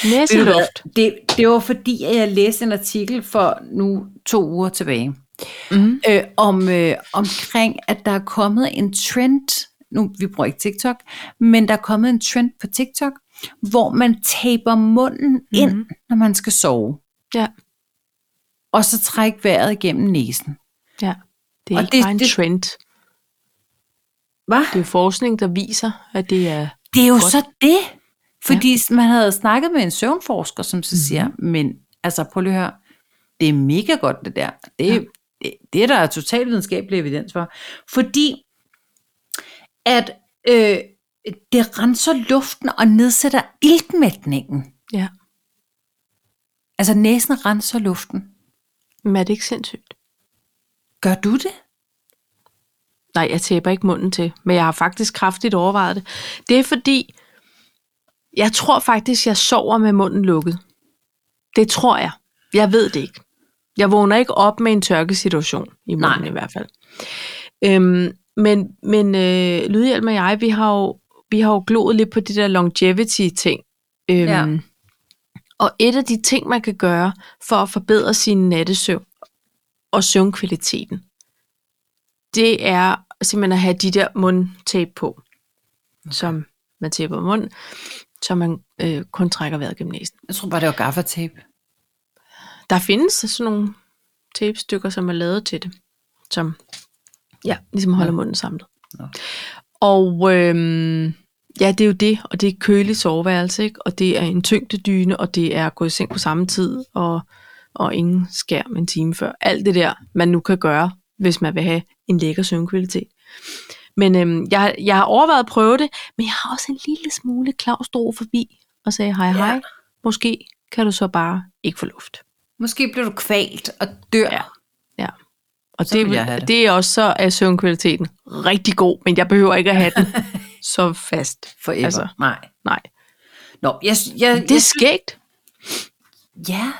B: Ved du hvad?
A: Næseluft.
B: Det, det var fordi, at jeg læste en artikel for nu to uger tilbage,
A: Mm.
B: øh, om øh, omkring, at der er kommet en trend, nu vi bruger ikke TikTok, men der er kommet en trend på TikTok, hvor man taber munden mm. ind,
A: Mhm.
B: når man skal sove,
A: Ja,
B: og så trække vejret igennem næsen.
A: ja. Det er
B: Og
A: ikke
B: det-
A: bare en
B: det-
A: trend.
B: Hvad?
A: Det er forskning, der viser, at det er...
B: Det er jo
A: Godt.
B: så det. Fordi ja. Mhm. man havde snakket med en søvnforsker, som så siger, men altså prøv lige at høre, det er mega godt det der. Det,
A: Ja.
B: ja. det, det er der er totalt videnskabelig evidens for. Fordi at øh, det renser luften og nedsætter iltmætningen.
A: Ja.
B: Altså næsen renser luften.
A: Men er det ikke sindssygt?
B: Gør du det?
A: Nej, jeg taber ikke munden til, men jeg har faktisk kraftigt overvejet det. Det er fordi, jeg tror faktisk, jeg sover med munden lukket. Det tror jeg. Jeg ved det ikke. Jeg vågner ikke op med en tørkesituation, i munden
B: Nej.
A: Nej. i hvert fald. Øhm, men men øh, Lydhjælp og jeg, vi har, jo, vi har jo gloet lidt på det der longevity-ting. Øhm,
B: Ja.
A: Og et af de ting, man kan gøre for at forbedre sin nattesøvn og søvnkvaliteten, det er simpelthen at have de der mundtape på, okay. som man taper munden, så man øh, kun trækker vejret gennem næsen.
B: Jeg tror bare, det var gaffatape.
A: Der findes sådan nogle tapestykker, som er lavet til det, som ja, ligesom holder
B: Nå.
A: munden samlet.
B: Nå.
A: Og øhm, ja, det er jo det, og det er et køligt soveværelse, ikke? og det er en tyngdedyne, og det er at gå i seng på samme tid, og, og ingen skærm en time før. Alt det der, man nu kan gøre, hvis man vil have en lækker søvnkvalitet. Men øhm, jeg, jeg har overvejet at prøve det, men jeg har også en lille smule klaustrofobi, og sagde hej hej,
B: Ja.
A: måske kan du så bare ikke få luft.
B: Måske bliver du kvalt og dør.
A: Ja. Og
B: Så
A: det,
B: vil
A: vil
B: jeg have
A: det.
B: det.
A: det er også så er søvnkvaliteten rigtig god, men jeg behøver ikke at have den så fast.
B: Forever. Altså.
A: Altså.
B: Nej.
A: Nej.
B: Nå, jeg, jeg,
A: Det
B: jeg,
A: er skægt.
B: Ja.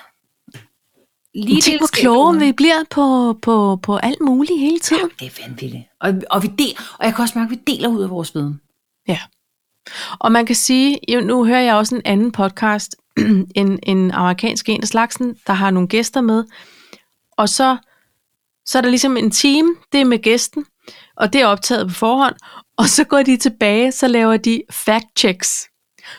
B: Lige
A: Tænk, hvor
B: delskab
A: kloge
B: derude.
A: vi bliver på, på, på alt muligt hele tiden.
B: Det er vanvittigt. Og, og, vi del, og jeg kan også mærke, at vi deler ud af vores viden.
A: Ja. Og man kan sige, jo, nu hører jeg også en anden podcast, en, en amerikansk en af slagsen, der har nogle gæster med. Og så, så er der ligesom en time, det er med gæsten, og det er optaget på forhånd. Og så går de tilbage, så laver de fact-checks.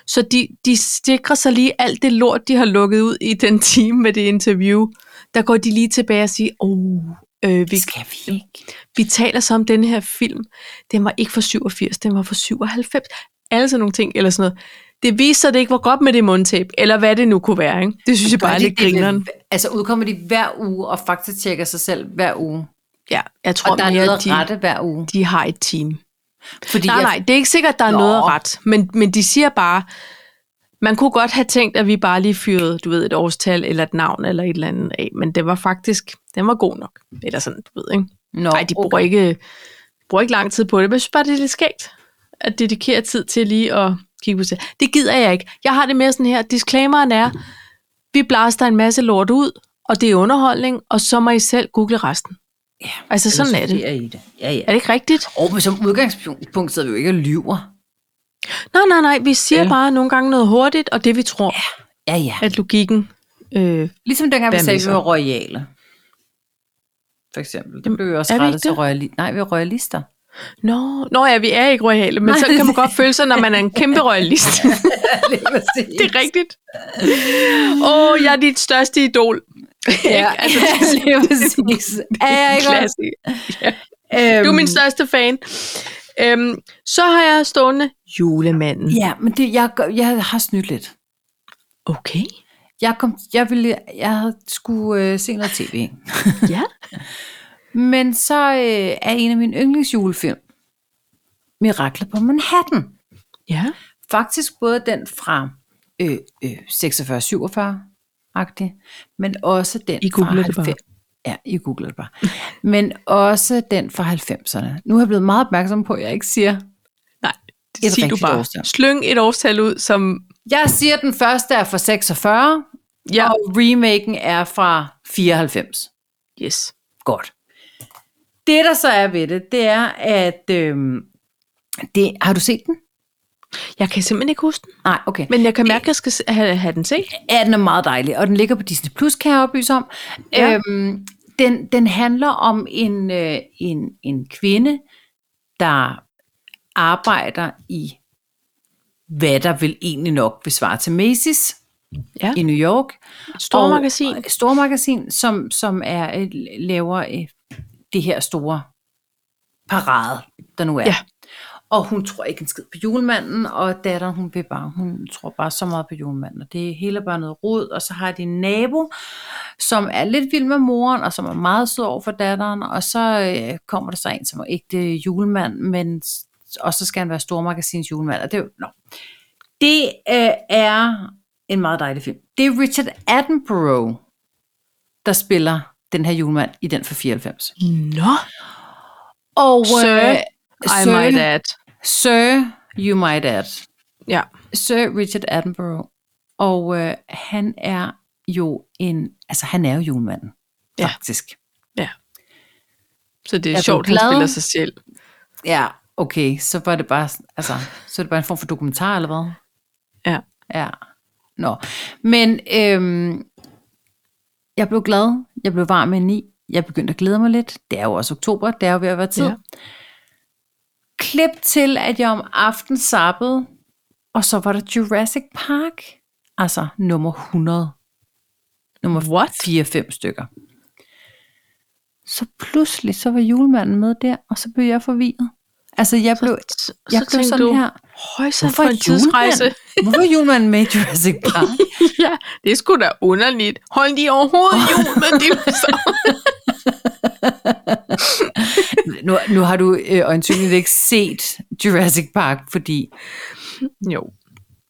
A: Så de, de sikrer sig lige alt det lort, de har lukket ud i den time med det interview. Der går de lige tilbage og siger, oh, øh, vi,
B: skal vi ikke.
A: vi taler så om den her film. Den var ikke fra 87, den var fra 97. Alle sådan nogle ting, eller sådan noget. Det viste sig, at det ikke var godt med det mundtab, eller hvad det nu kunne være. Ikke? Det synes jeg bare er lidt grineren.
B: Altså udkommer de hver uge og faktatjekker sig selv hver uge.
A: Ja, jeg tror,
B: Og der er
A: mere,
B: noget
A: at
B: at
A: de,
B: rette hver uge.
A: de har et team.
B: Fordi
A: Nej,
B: jeg-
A: nej, det er ikke sikkert, at der er
B: Nå.
A: noget at ret. Men, men de siger bare, man kunne godt have tænkt, at vi bare lige fyrede, du ved, et årstal, eller et navn, eller et eller andet af. Men det var faktisk, den var god nok. Eller sådan, du ved, ikke?
B: Nå,
A: Nej, de bruger, ikke, bruger ikke lang tid på det, men jeg synes bare, det er lidt skægt at dedikere tid til lige at kigge på sig. Det gider jeg ikke. Jeg har det mere sådan her, disclaimeren er, vi blaster en masse lort ud, og det er underholdning, og så må I selv google resten.
B: Ja,
A: Altså sådan er det.
B: I det. Ja, ja.
A: Er det ikke rigtigt?
B: Og men som udgangspunkt sidder vi jo ikke og lyver.
A: Nej, nej, nej, vi siger
B: Ja.
A: bare nogle gange noget hurtigt, og det vi tror,
B: Ja, ja.
A: at logikken... Øh,
B: Ligesom dengang vi
A: Altså, Hvad med
B: sagde, at vi
A: så?
B: var royale. For eksempel. Det blev jo også
A: er vi
B: rettet
A: ikke
B: til
A: det?
B: royali- Nej, vi er royalister.
A: nå, nå ja, vi er ikke royale, men
B: Nej.
A: så kan man godt føle sig, når man er en kæmpe royalist. det er rigtigt. Åh, oh, jeg er dit største idol.
B: Ja, altså, lige præcis. Er jeg ikke også?
A: Klasse.
B: Øhm,
A: Du er min største fan. Øhm, så har jeg stående julemanden.
B: Ja, men det, jeg, gør- jeg har snydt lidt.
A: Okay.
B: Jeg, kom, jeg, ville, jeg havde skulle øh, se noget tv.
A: Ja.
B: Men så øh, er en af mine yndlingsjulefilm Miraklet på Manhattan.
A: Ja.
B: Faktisk både den fra øh, øh, 46-47-agtig, men også den
A: I
B: fra
A: googler det bare.
B: 90 Ja, I googler det bare. Men også den fra 90'erne. Nu er jeg blevet meget opmærksom på, at jeg ikke siger.
A: Nej,
B: Et
A: det siger du
B: rigtigt
A: bare.
B: årstal.
A: Slyng et årstal ud, som...
B: Jeg siger, at den første er fra 46,
A: Ja.
B: ja. og remaken er fra 94.
A: Yes.
B: Godt. Det, der så er ved det, det er, at... Øh, det, har du set den?
A: Jeg kan simpelthen ikke huske den,
B: Nej, okay.
A: men jeg kan mærke, at jeg skal se- have, have den set.
B: Ja, den er meget dejlig, og den ligger på Disney+, Plus, kan jeg oplyse om.
A: Ja.
B: Ja. Øhm, den, den handler om en, øh, en, en kvinde, der arbejder i, hvad der vel egentlig nok vil svare til Macy's
A: Ja.
B: i New York.
A: Stormagasin.
B: Og, øh, stormagasin, som, som er, øh, laver øh, det her store parade, der nu er.
A: Ja.
B: Og hun tror ikke en skid på julemanden, og datteren, hun, vil bare, hun tror bare så meget på julemanden, og det hele er bare noget rod, og så har de en nabo, som er lidt vild med moren, og som er meget sød over for datteren, og så øh, kommer der så en, som er ægte julemand, men, og så skal han være stormagasins julemand, og det er jo, no. Det øh, er en meget dejlig film. Det er Richard Attenborough, der spiller den her julemand i den for 94.
A: Nå,
B: Og
A: Sir,
B: øh,
A: I
B: Sir,
A: might add.
B: Sir, you might add.
A: Ja.
B: Sir Richard Attenborough. Og øh, han er jo en, altså han er jo julemanden,
A: Ja.
B: faktisk.
A: Så det er,
B: Er
A: er
B: du
A: sjovt, han
B: glad?
A: spiller sig selv.
B: Ja, okay, så var det bare, altså, så er det bare en form for dokumentar, eller hvad?
A: Ja.
B: Ja. Nå. Men øhm, jeg blev glad. Jeg blev varm indeni. Jeg begyndte at glæde mig lidt. Det er jo også oktober. Det er jo ved at være tid.
A: Ja.
B: Ja. Klip til, at jeg om aftenen sappede. Og så var der Jurassic Park. Altså nummer 100. Nummer
A: What?
B: 4-5 stykker. Så pludselig, så var julemanden med der, og så blev jeg forvirret. Altså, jeg blev,
A: Så,
B: jeg blev
A: tænkte
B: sådan
A: du,
B: her.
A: Højsa for en tidsrejse.
B: Julemand? Hvorfor er julemanden med i Jurassic Park?
A: ja, det er sgu da underligt. Hold de overhovedet jul med dinosaurer.
B: nu, nu har du øh, øjensynligt ikke set Jurassic Park, fordi...
A: jo,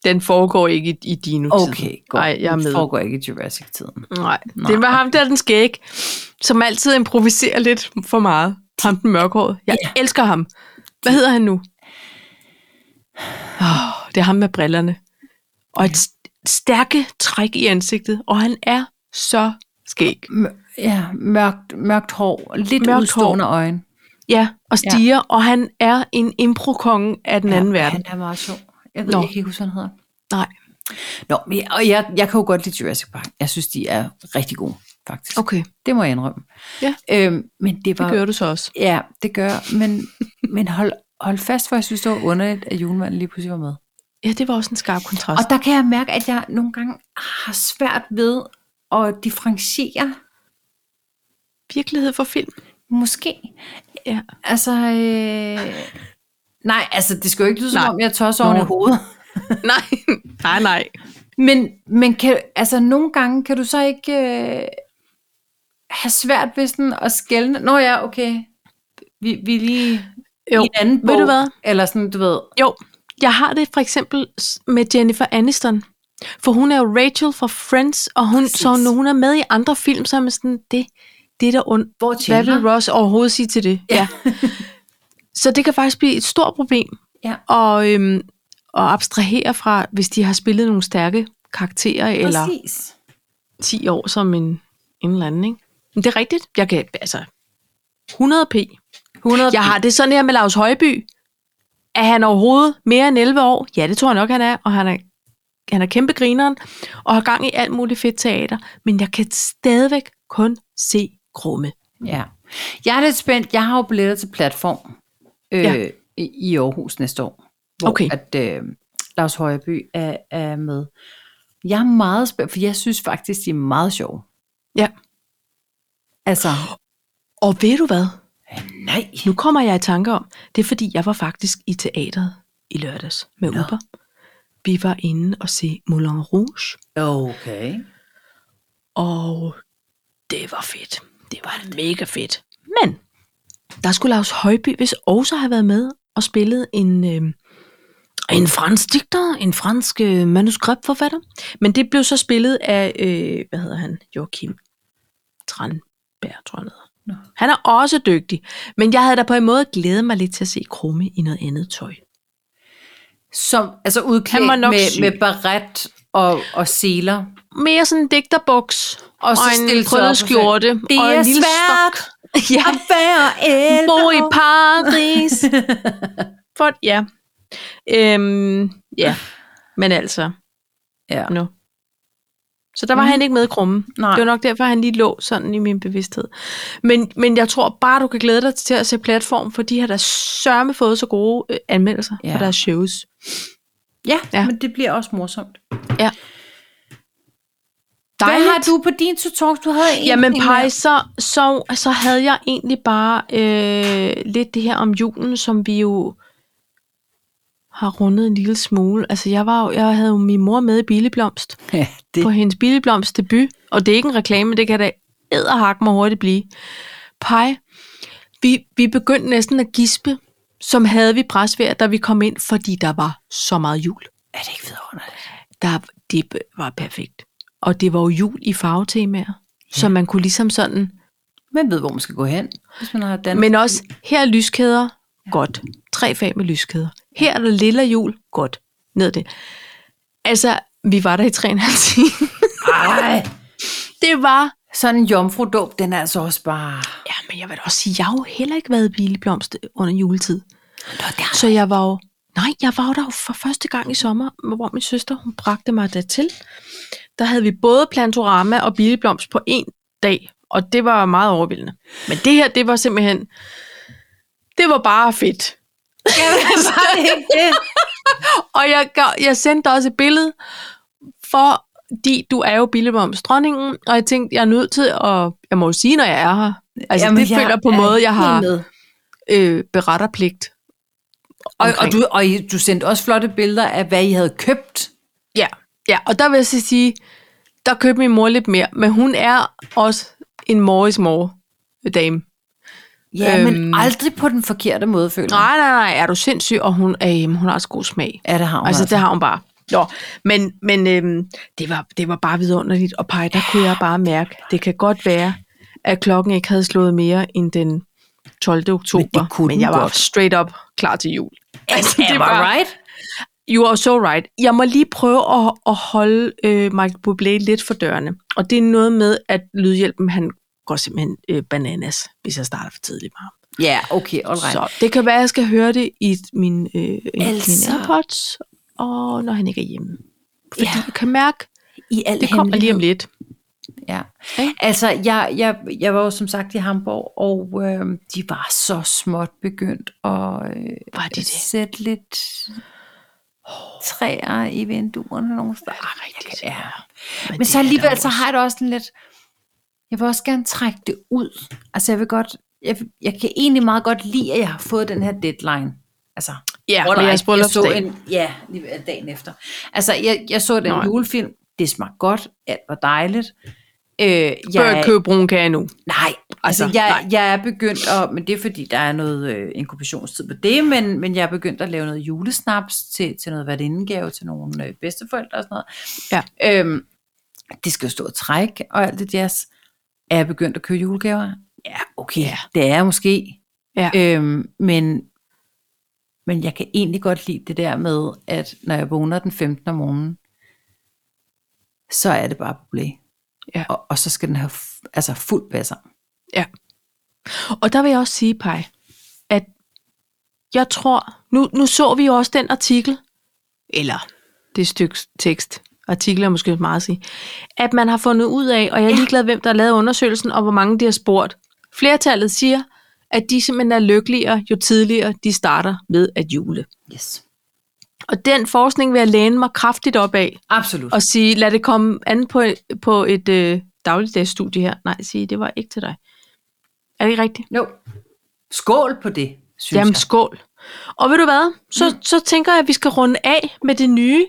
A: den foregår ikke i, i dinotiden.
B: Okay, godt.
A: Nej, jeg er
B: Det
A: med.
B: foregår ikke i Jurassic-tiden.
A: Nej, det var ham der, den skæg, som altid improviserer lidt for meget. Ham den mørkhårede. Jeg ja. elsker ham. Hvad hedder han nu? Oh, det er ham med brillerne. Og et st- stærke træk i ansigtet. Og han er så skæg.
B: M- ja, mørkt, mørkt hår. Lidt
A: Mørkt
B: mørkt udstående hår. øjne.
A: Ja, og stiger. Ja. Og han er en improkonge af den anden
B: ja,
A: verden.
B: Han er meget sjov. Jeg ved
A: Nå.
B: Nå. ikke, hvad han hedder.
A: Nej.
B: Nå, men jeg, og jeg, jeg kan jo godt lide Jurassic Park. Jeg synes, de er rigtig gode, faktisk. Okay.
A: Okay,
B: Det må jeg indrømme.
A: Ja.
B: Øhm, men det var...
A: det gør du så også.
B: Ja, det gør jeg, Men, men hold, hold fast, for jeg synes, det var underligt, at julemanden lige pludselig var med.
A: Ja, det var også en skarp kontrast.
B: Og der kan jeg mærke, at jeg nogle gange har svært ved at differentiere,
A: virkelighed for film.
B: måske.
A: Ja.
B: Altså, øh... nej, altså det skal jo ikke lyde, som
A: Nej.
B: om jeg tosser oven i
A: Nå.
B: hovedet.
A: Nej, nej, nej.
B: Men, men kan, altså, nogle gange kan du så ikke øh, have svært ved sådan at skælne. Nå ja, okay, vi, vi er lige
A: Jo,
B: i en anden
A: ved
B: bog,
A: du hvad?
B: eller sådan, du ved.
A: Jo, jeg har det for eksempel s- med Jennifer Aniston. For hun er jo Rachel fra Friends, og hun,
B: Præcis.
A: så når hun er med i andre film, så er man sådan, det, det er da ondt.
B: Hvor
A: Hvad
B: tjener?
A: vil Ross overhovedet sige til det? Ja. så det kan faktisk blive et stort problem
B: Ja.
A: og, øhm, at abstrahere fra, hvis de har spillet nogle stærke karakterer, eller
B: Præcis.
A: 10 år som en, en eller anden, ikke? Men det er rigtigt. Jeg kan, altså, 100p.
B: 100
A: Jeg har det sådan her med Lars Højby. Er han overhovedet mere end 11 år? Ja, det tror jeg nok, han er. Og han er, han er kæmpe grineren, og har gang i alt muligt fedt teater. Men jeg kan stadigvæk kun se krumme.
B: Ja. Jeg er lidt spændt. Jeg har jo billetter til platform øh,
A: Ja.
B: ja. i i Aarhus næste år. Hvor
A: Okay.
B: At øh, Lars Højeby er, er med. Jeg er meget spændt, for jeg synes faktisk, de er meget sjove.
A: Ja.
B: Altså,
A: Og ved du hvad?
B: nej.
A: Nu kommer jeg i tanke om, det er fordi, jeg var faktisk i teateret i lørdags med
B: Nå.
A: Uber. Vi var inde og se Moulin Rouge,
B: Okay.
A: og det var fedt. Det var mega fedt. Men der skulle Lars Højby, hvis også have været med og spillet en, øh, en fransk digter, en fransk øh, manuskriptforfatter. Men det blev så spillet af, øh, hvad hedder han, Joachim Tranberg, tror jeg han hedder.
B: Nå.
A: Han er også dygtig, men jeg havde da på en måde glædet mig lidt til at se Krumme i noget andet tøj.
B: Som, altså
A: Han
B: udklædt
A: var nok
B: med,
A: syg.
B: med baret og, og seler.
A: Mere sådan en digterbuks, og,
B: Og så
A: og en
B: stille sig op og
A: krøllet
B: sige,
A: skjorte,
B: Det
A: og
B: er
A: en lille
B: svært.
A: stok. ja,
B: At være ældre.
A: bo i Paris. For, ja. Øhm, ja, men altså,
B: Ja.
A: nu. Så der var
B: Mhm.
A: mm. han ikke med i krummen.
B: Nej.
A: Det var nok derfor, han lige lå sådan i min bevidsthed. Men, men jeg tror bare, du kan glæde dig til at se platform, for de har da sørme fået så gode øh, anmeldelser
B: Ja.
A: ja. for deres shows.
B: Ja, ja,
A: Ja.
B: men det bliver også morsomt. Hvad
A: Dejligt.
B: har du på din to talk? Du havde en
A: Jamen
B: en
A: Paj,
B: mere.
A: så, så, så havde jeg egentlig bare øh, lidt det her om julen, som vi jo har rundet en lille smule. Altså jeg, var jo, jeg havde jo min mor med i Billeblomst
B: Ja,
A: på
B: det.
A: hendes Billeblomst debut. Og det er ikke en reklame, det kan da æderhak mig hurtigt blive. Pej, vi, vi begyndte næsten at gispe, som havde vi presvær, da vi kom ind, fordi der var så meget jul
B: Er det ikke vidunderligt?
A: der, det var perfekt. Og det var jo jul i farvetemaer, ja. så man kunne ligesom sådan,
B: Man ved, hvor man skal gå hen, hvis man har dannet.
A: men også, her er lyskæder, godt. Tre fag med lyskæder. Her er der lille jul, godt. Ned det. Altså, vi var der i tre og en halv time.
B: Ej,
A: Det var...
B: sådan en jomfrudåb, den er altså også bare...
A: Ja, men jeg vil da også sige, jeg har jo heller ikke været i Bileblomst under juletid.
B: Nå, det er...
A: Så jeg var jo... Nej, jeg var jo der jo for første gang i sommer, hvor min søster, hun bragte mig dertil. Der havde vi både plantorama og billigblomst på én dag, og det var meget overvældende. Men det her, det var simpelthen... Det var bare fedt.
B: Var det ikke det?
A: Og jeg, gav- jeg sendte dig også et billede, fordi du er jo billigblomst dronningen, og jeg tænkte, jeg er nødt til at... Jeg må jo sige, når jeg er her. Altså, Jamen, det
B: jeg
A: føler jeg på en
B: er
A: måde, jeg
B: helt
A: har
B: Med.
A: øh, beretterpligt.
B: Og, og,
A: omkring.
B: du, og I- du sendte også flotte billeder af, hvad I havde købt.
A: Ja, ja, og der vil jeg så sige, der købte min mor lidt mere, men hun er også en moris mor dame.
B: Mm. Ja, øhm. men
A: Øhm.
B: aldrig på den forkerte måde, føler
A: Nej,
B: jeg.
A: nej, nej, er du sindssyg, og hun, øh, hun har også god smag.
B: Ja, det har hun
A: Altså, det har hun bare. Nå, men, men øhm, det, var, det var bare vidunderligt, og pej, der kunne jeg bare mærke, det kan godt være, at klokken ikke havde slået mere end den 12. oktober,
B: kunne
A: men
B: den
A: jeg var
B: godt.
A: straight up klar til jul.
B: Altså, det var right.
A: You are so right. Jeg må lige prøve at, at holde øh, Michael Bublé lidt for dørene. Og det er noget med, at lydhjælpen han går simpelthen øh, bananas, hvis jeg starter for tidligt med ham.
B: Ja, okay, all right.
A: Så det kan være, at jeg skal høre det i min, øh, i
B: Altså.
A: min AirPods, og når han ikke er hjemme. Fordi
B: Ja.
A: ja. jeg kan mærke,
B: I al
A: det kommer lige om lidt.
B: Ja.
A: Ikke?
B: Altså, jeg, jeg, jeg var jo som sagt i Hamburg, og øh, de var så småt begyndt at øh,
A: Var de det?
B: sætte lidt træer i vinduerne nogle steder.
A: Ja, rigtigt.
B: Ja. Ah, Men, Men
A: det
B: så
A: er
B: alligevel,
A: der
B: så har jeg det også sådan lidt, jeg vil også gerne trække det ud. Altså, jeg vil godt, jeg, jeg kan egentlig meget godt lide, at jeg har fået den her deadline. Altså,
A: Ja,
B: Hvor
A: og
B: der
A: jeres
B: er- jeg så
A: bryllupsdag.
B: en, Ja, lige dagen efter. Altså, jeg, jeg så den
A: Nå ja.
B: julefilm. Det smagte godt. Alt var dejligt. Øh, jeg,
A: Bør jeg købe brun kage nu?
B: Nej, altså,
A: Altså,
B: jeg,
A: nej.
B: jeg er begyndt at, men det er fordi, der er noget øh, inkubationstid på det, men, men jeg er begyndt at lave noget julesnaps til, til noget værtindegave til nogle øh, bedsteforældre og sådan noget. Ja. Øhm, det skal jo stå og trække og alt det jazz. Er jeg begyndt at købe julegaver? Ja, okay, ja.
A: Ja.
B: det er jeg måske.
A: Ja.
B: Øhm, men, men jeg kan egentlig godt lide det der med, at når jeg vågner den 15. om morgenen, så er det bare problem.
A: Ja.
B: Og, og så skal den have f- altså fuld basser.
A: Og der vil jeg også sige, Paj, at jeg tror, nu, nu så vi jo også den artikel, eller det stykke tekst, artikler er måske meget at sige, at man har fundet ud af, og jeg er ligeglad, hvem der har lavet undersøgelsen, og hvor mange de har spurgt. Flertallet siger, at de simpelthen er lykkeligere, jo tidligere de starter med at jule.
B: Yes.
A: Og den forskning vil jeg læne mig kraftigt op af,
B: Absolut.
A: og sige, lad det komme an på, på et øh, dagligdags studie her. Nej, sige, det var ikke til dig. Er det ikke rigtigt?
B: jo. Skål på det, synes
A: Jamen
B: jeg.
A: skål. Og ved du hvad, så, mm. så tænker jeg, at vi skal runde af med det nye.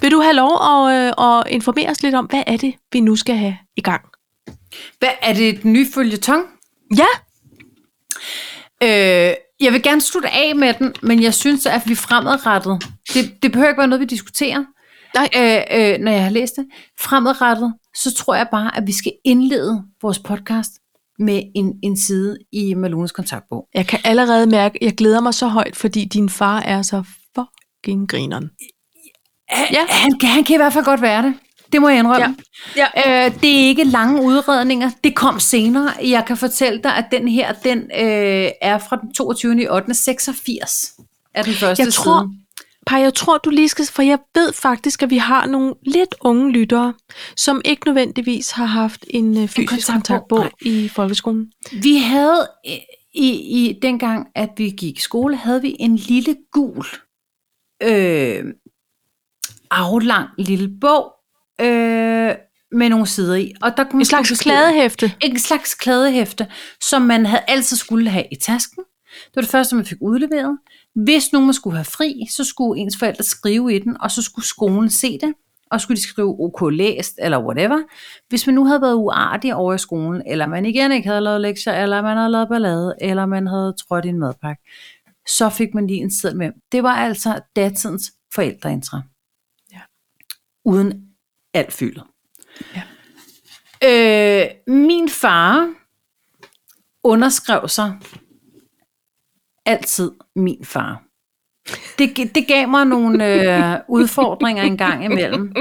A: Vil du have lov at, øh, at informere os lidt om, hvad er det, vi nu skal have i gang?
B: Hvad, er det den nye følgetong?
A: Ja,
B: Øh, jeg vil gerne slutte af med den, men jeg synes, at vi fremadrettet, det, det behøver ikke være noget, vi diskuterer,
A: Nej.
B: Øh, øh, når jeg har læst det, fremadrettet, så tror jeg bare, at vi skal indlede vores podcast med en, en side i Malones kontaktbog.
A: jeg kan allerede mærke, jeg glæder mig så højt, fordi din far er så fucking grineren.
B: Ja. Han, kan- han kan i hvert fald godt være det. Det må jeg indrømme.
A: Ja.
B: Øh, det er ikke lange udredninger. Det kom senere. Jeg kan fortælle dig, at den her, den øh, er fra den 22. i 8. 86. Er den første
A: Jeg tror,
B: siden.
A: Paj, jeg tror, du lige skal, for jeg ved faktisk, at vi har nogle lidt unge lyttere, som ikke nødvendigvis har haft en øh, fysisk
B: kontaktbog,
A: kontaktbog
B: nej.
A: i folkeskolen.
B: Vi havde øh, i, i dengang, at vi gik i skole, havde vi en lille gul, øh, aflang lille bog øh, med nogle sider i. Og der kunne
A: En slags
B: beskrive-
A: klædehæfte.
B: En slags klædehæfte, som man havde altid skulle have i tasken. Det var det første, man fik udleveret. Hvis nogen man skulle have fri, så skulle ens forældre skrive i den, og så skulle skolen se det. Og skulle de skrive OK læst, eller whatever. Hvis man nu havde været uartig over i skolen, eller man igen ikke havde lavet lektier, eller man havde lavet ballade, eller man havde trådt i en madpakke, så fik man lige en sted med. Det var altså datidens forældreintra.
A: Ja.
B: Uden alt fyldet.
A: Ja.
B: Øh, min far underskrev sig altid min far. Det, gi- det gav mig nogle øh, udfordringer en gang imellem.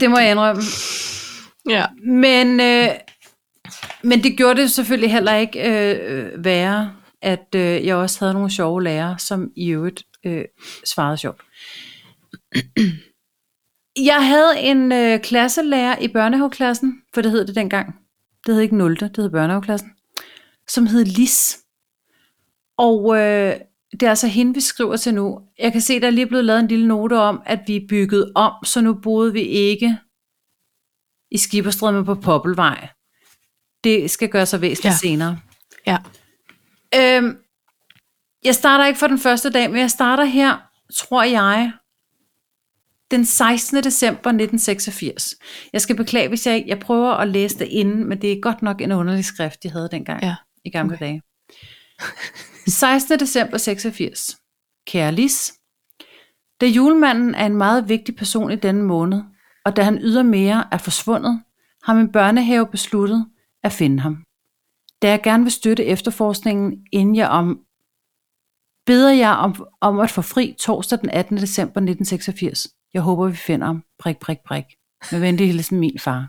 B: Det må jeg indrømme.
A: Ja.
B: Men, øh, men det gjorde det selvfølgelig heller ikke øh, værre, at øh, jeg også havde nogle sjove lærere, som i øvrigt øh, svarede sjovt. Jeg havde en øh, klasselærer i børnehaveklassen, for det hed det dengang. Det hed ikke 0. det hed børnehaveklassen, som hed Lis. Og øh, det er altså hende, vi skriver til nu. Jeg kan se, der er lige blevet lavet en lille note om, at vi er bygget om, så nu boede vi ikke i Skipperstræd, men på Poppelvej. Det skal gøre sig væsentligt ja.
A: Ja.
B: senere.
A: ja.
B: Øhm, jeg starter ikke for den første dag, men jeg starter her, tror jeg, den 16. december 1986. Jeg skal beklage, hvis jeg ikke... Jeg prøver at læse det inden, men det er godt nok en underlig skrift, de havde dengang
A: Ja.
B: i gamle okay. dage. 16. december 86. Kære Lis, da julemanden er en meget vigtig person i denne måned, og da han ydermere er forsvundet, har min børnehave besluttet at finde ham. Da jeg gerne vil støtte efterforskningen, inden jeg om beder jeg om, om at få fri torsdag den 18. december 1986. Jeg håber, vi finder ham. Prik, prik, prik. Med venlig hilsen min far.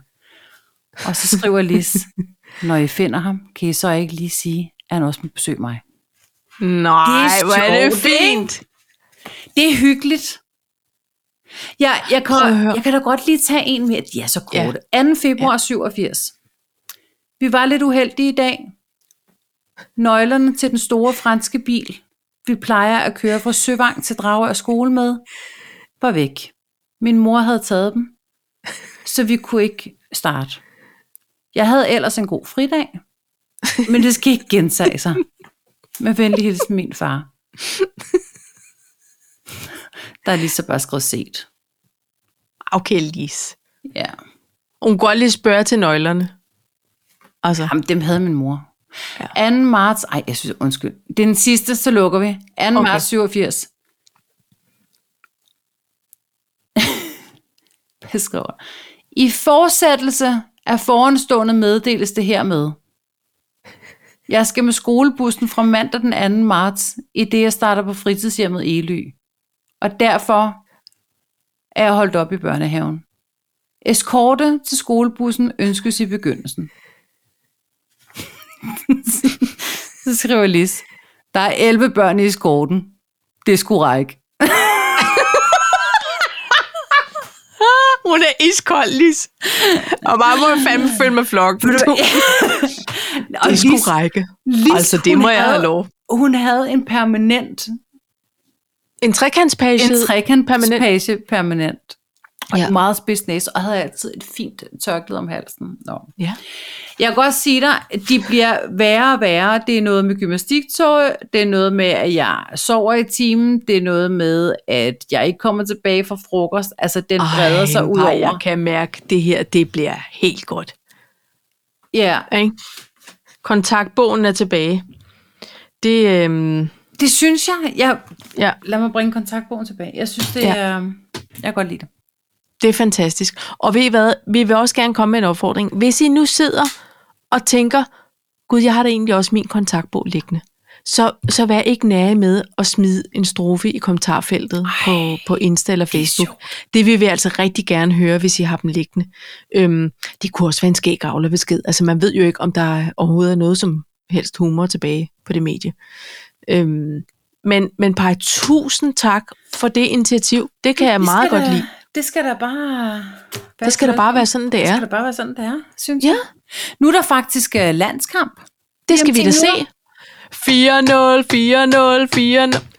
B: Og så skriver Lis, når I finder ham, kan I så ikke lige sige, at han også må besøge mig.
A: Nej, hvor er det
B: sjovt, ikke?
A: fint.
B: Det er hyggeligt. Jeg, jeg, kan,
A: Prøv at høre.
B: jeg kan da godt lige tage en mere. De er så korte. Ja. 2. februar ja. 87. Vi var lidt uheldige i dag. Nøglerne til den store franske bil, vi plejer at køre fra Søvang til Dragør skole med, var væk. Min mor havde taget dem, så vi kunne ikke starte. Jeg havde ellers en god fridag, men det skal ikke gentage sig. Med venlig hilsen min far. Der er lige så bare skrevet set.
A: Okay, Lis.
B: Ja.
A: Hun kan godt lige spørge til nøglerne. Altså,
B: Jamen, dem havde min mor.
A: Ja.
B: Ja. 2. marts, ej, jeg synes, undskyld. Det er den sidste, så lukker vi. 2. Okay.
A: Okay.
B: marts 87. jeg skriver. I fortsættelse af foranstående meddeles det hermed. Jeg skal med skolebussen fra mandag den 2. marts, i det jeg starter på fritidshjemmet Ely. Og derfor er jeg holdt op i børnehaven. Eskorte til skolebussen ønskes i begyndelsen. Så skriver Lis, der er 11 børn i eskorten. Det skulle række.
A: hun er iskold, Lis. Og bare må jeg fandme følge med flokken.
B: Og
A: Det
B: Lis-
A: skulle række.
B: Lis,
A: Altså, det
B: hun
A: må jeg have
B: havde-
A: lov.
B: Hun havde en permanent,
A: En trekantspage.
B: en
A: permanent.
B: trekantspage permanent. Og
A: Ja.
B: ja. meget spids næse, og havde altid et fint tørklæde om halsen. Nå.
A: Ja.
B: Jeg kan godt sige dig, de bliver værre og værre. Det er noget med gymnastiktøj, det er noget med, at jeg sover i timen, det er noget med, at jeg ikke kommer tilbage fra frokost. Altså, den breder sig ud
A: nej, jeg
B: over.
A: kan mærke, det her det bliver helt godt.
B: Ja,
A: Ikke? Kontaktbogen er tilbage. Det, øhm,
B: det synes jeg. jeg
A: ja,
B: lad mig bringe kontaktbogen tilbage. Jeg synes, det
A: Ja.
B: ja. er... Jeg kan godt lide det.
A: det er fantastisk. Og ved I hvad? Vi vil også gerne komme med en opfordring. Hvis I nu sidder og tænker, Gud, jeg har da egentlig også min kontaktbog liggende, så, så vær ikke nære med at smide en strofe i kommentarfeltet på, på Insta eller Facebook. Det, det vil vi altså rigtig gerne høre, hvis I har dem liggende. Øhm, det kunne også være en skæg besked. Altså man ved jo ikke, om der overhovedet er noget som helst humor tilbage på det medie. Øhm, men, men Paj, tusind tak for det initiativ. Det kan jeg meget godt
B: da,
A: lide.
B: Det skal da bare være
A: Det skal da
B: sådan.
A: bare være sådan, det
B: Det
A: er.
B: skal da bare være sådan, det er, synes
A: Ja.
B: jeg. Nu er der faktisk øh, landskamp.
A: Det skal vi
B: Jamen,
A: da
B: til
A: se.
B: nu.
A: 4-0, 4-0, 4-0.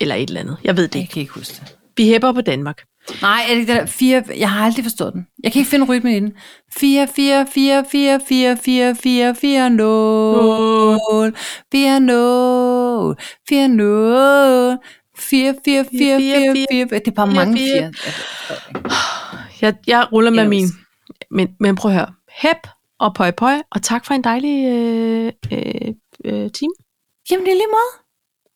A: Eller et eller andet. Jeg ved det
B: Jeg
A: ikke.
B: kan ikke huske det.
A: Vi hæpper på Danmark.
B: Nej, er det ikke det der fire, jeg har aldrig forstået den. Jeg kan ikke finde rytmen i den. 4, 4, 4, 4, 4, 4, 4, 4, 0, 4, 0, 4, 0, 4, 4, 4, 4, 4, Det er bare mange
A: fire.
B: fire.
A: Jeg, jeg ruller med
B: Yes.
A: min. Men, men prøv at høre. Hæp og pøj pøj. Og tak for en dejlig øh, øh, øh, time.
B: Jamen, det er lige måde.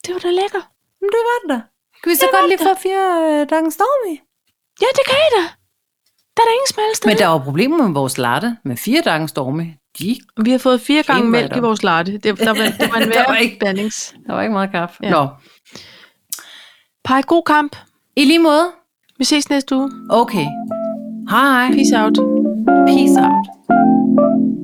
A: Det var da lækker.
B: Men det var det da. Kan vi så
A: Det var
B: godt lige
A: det.
B: få fire øh, dagen stormy?
A: Ja, det kan I da. Der er da ingen smalle
B: Men
A: steder.
B: der var problemer med vores latte med fire dagen stormy. De,
A: Vi har fået fire gange
B: Helt
A: mælk i
B: op.
A: vores latte. Det, der, var, det var en
B: Der var
A: værre
B: ikke-
A: blandings.
B: der var ikke meget kaffe.
A: Ja.
B: Nå,
A: Pej, god kamp.
B: i lige måde.
A: Vi ses næste uge.
B: Okay. Hej.
A: Peace out.
B: Peace out.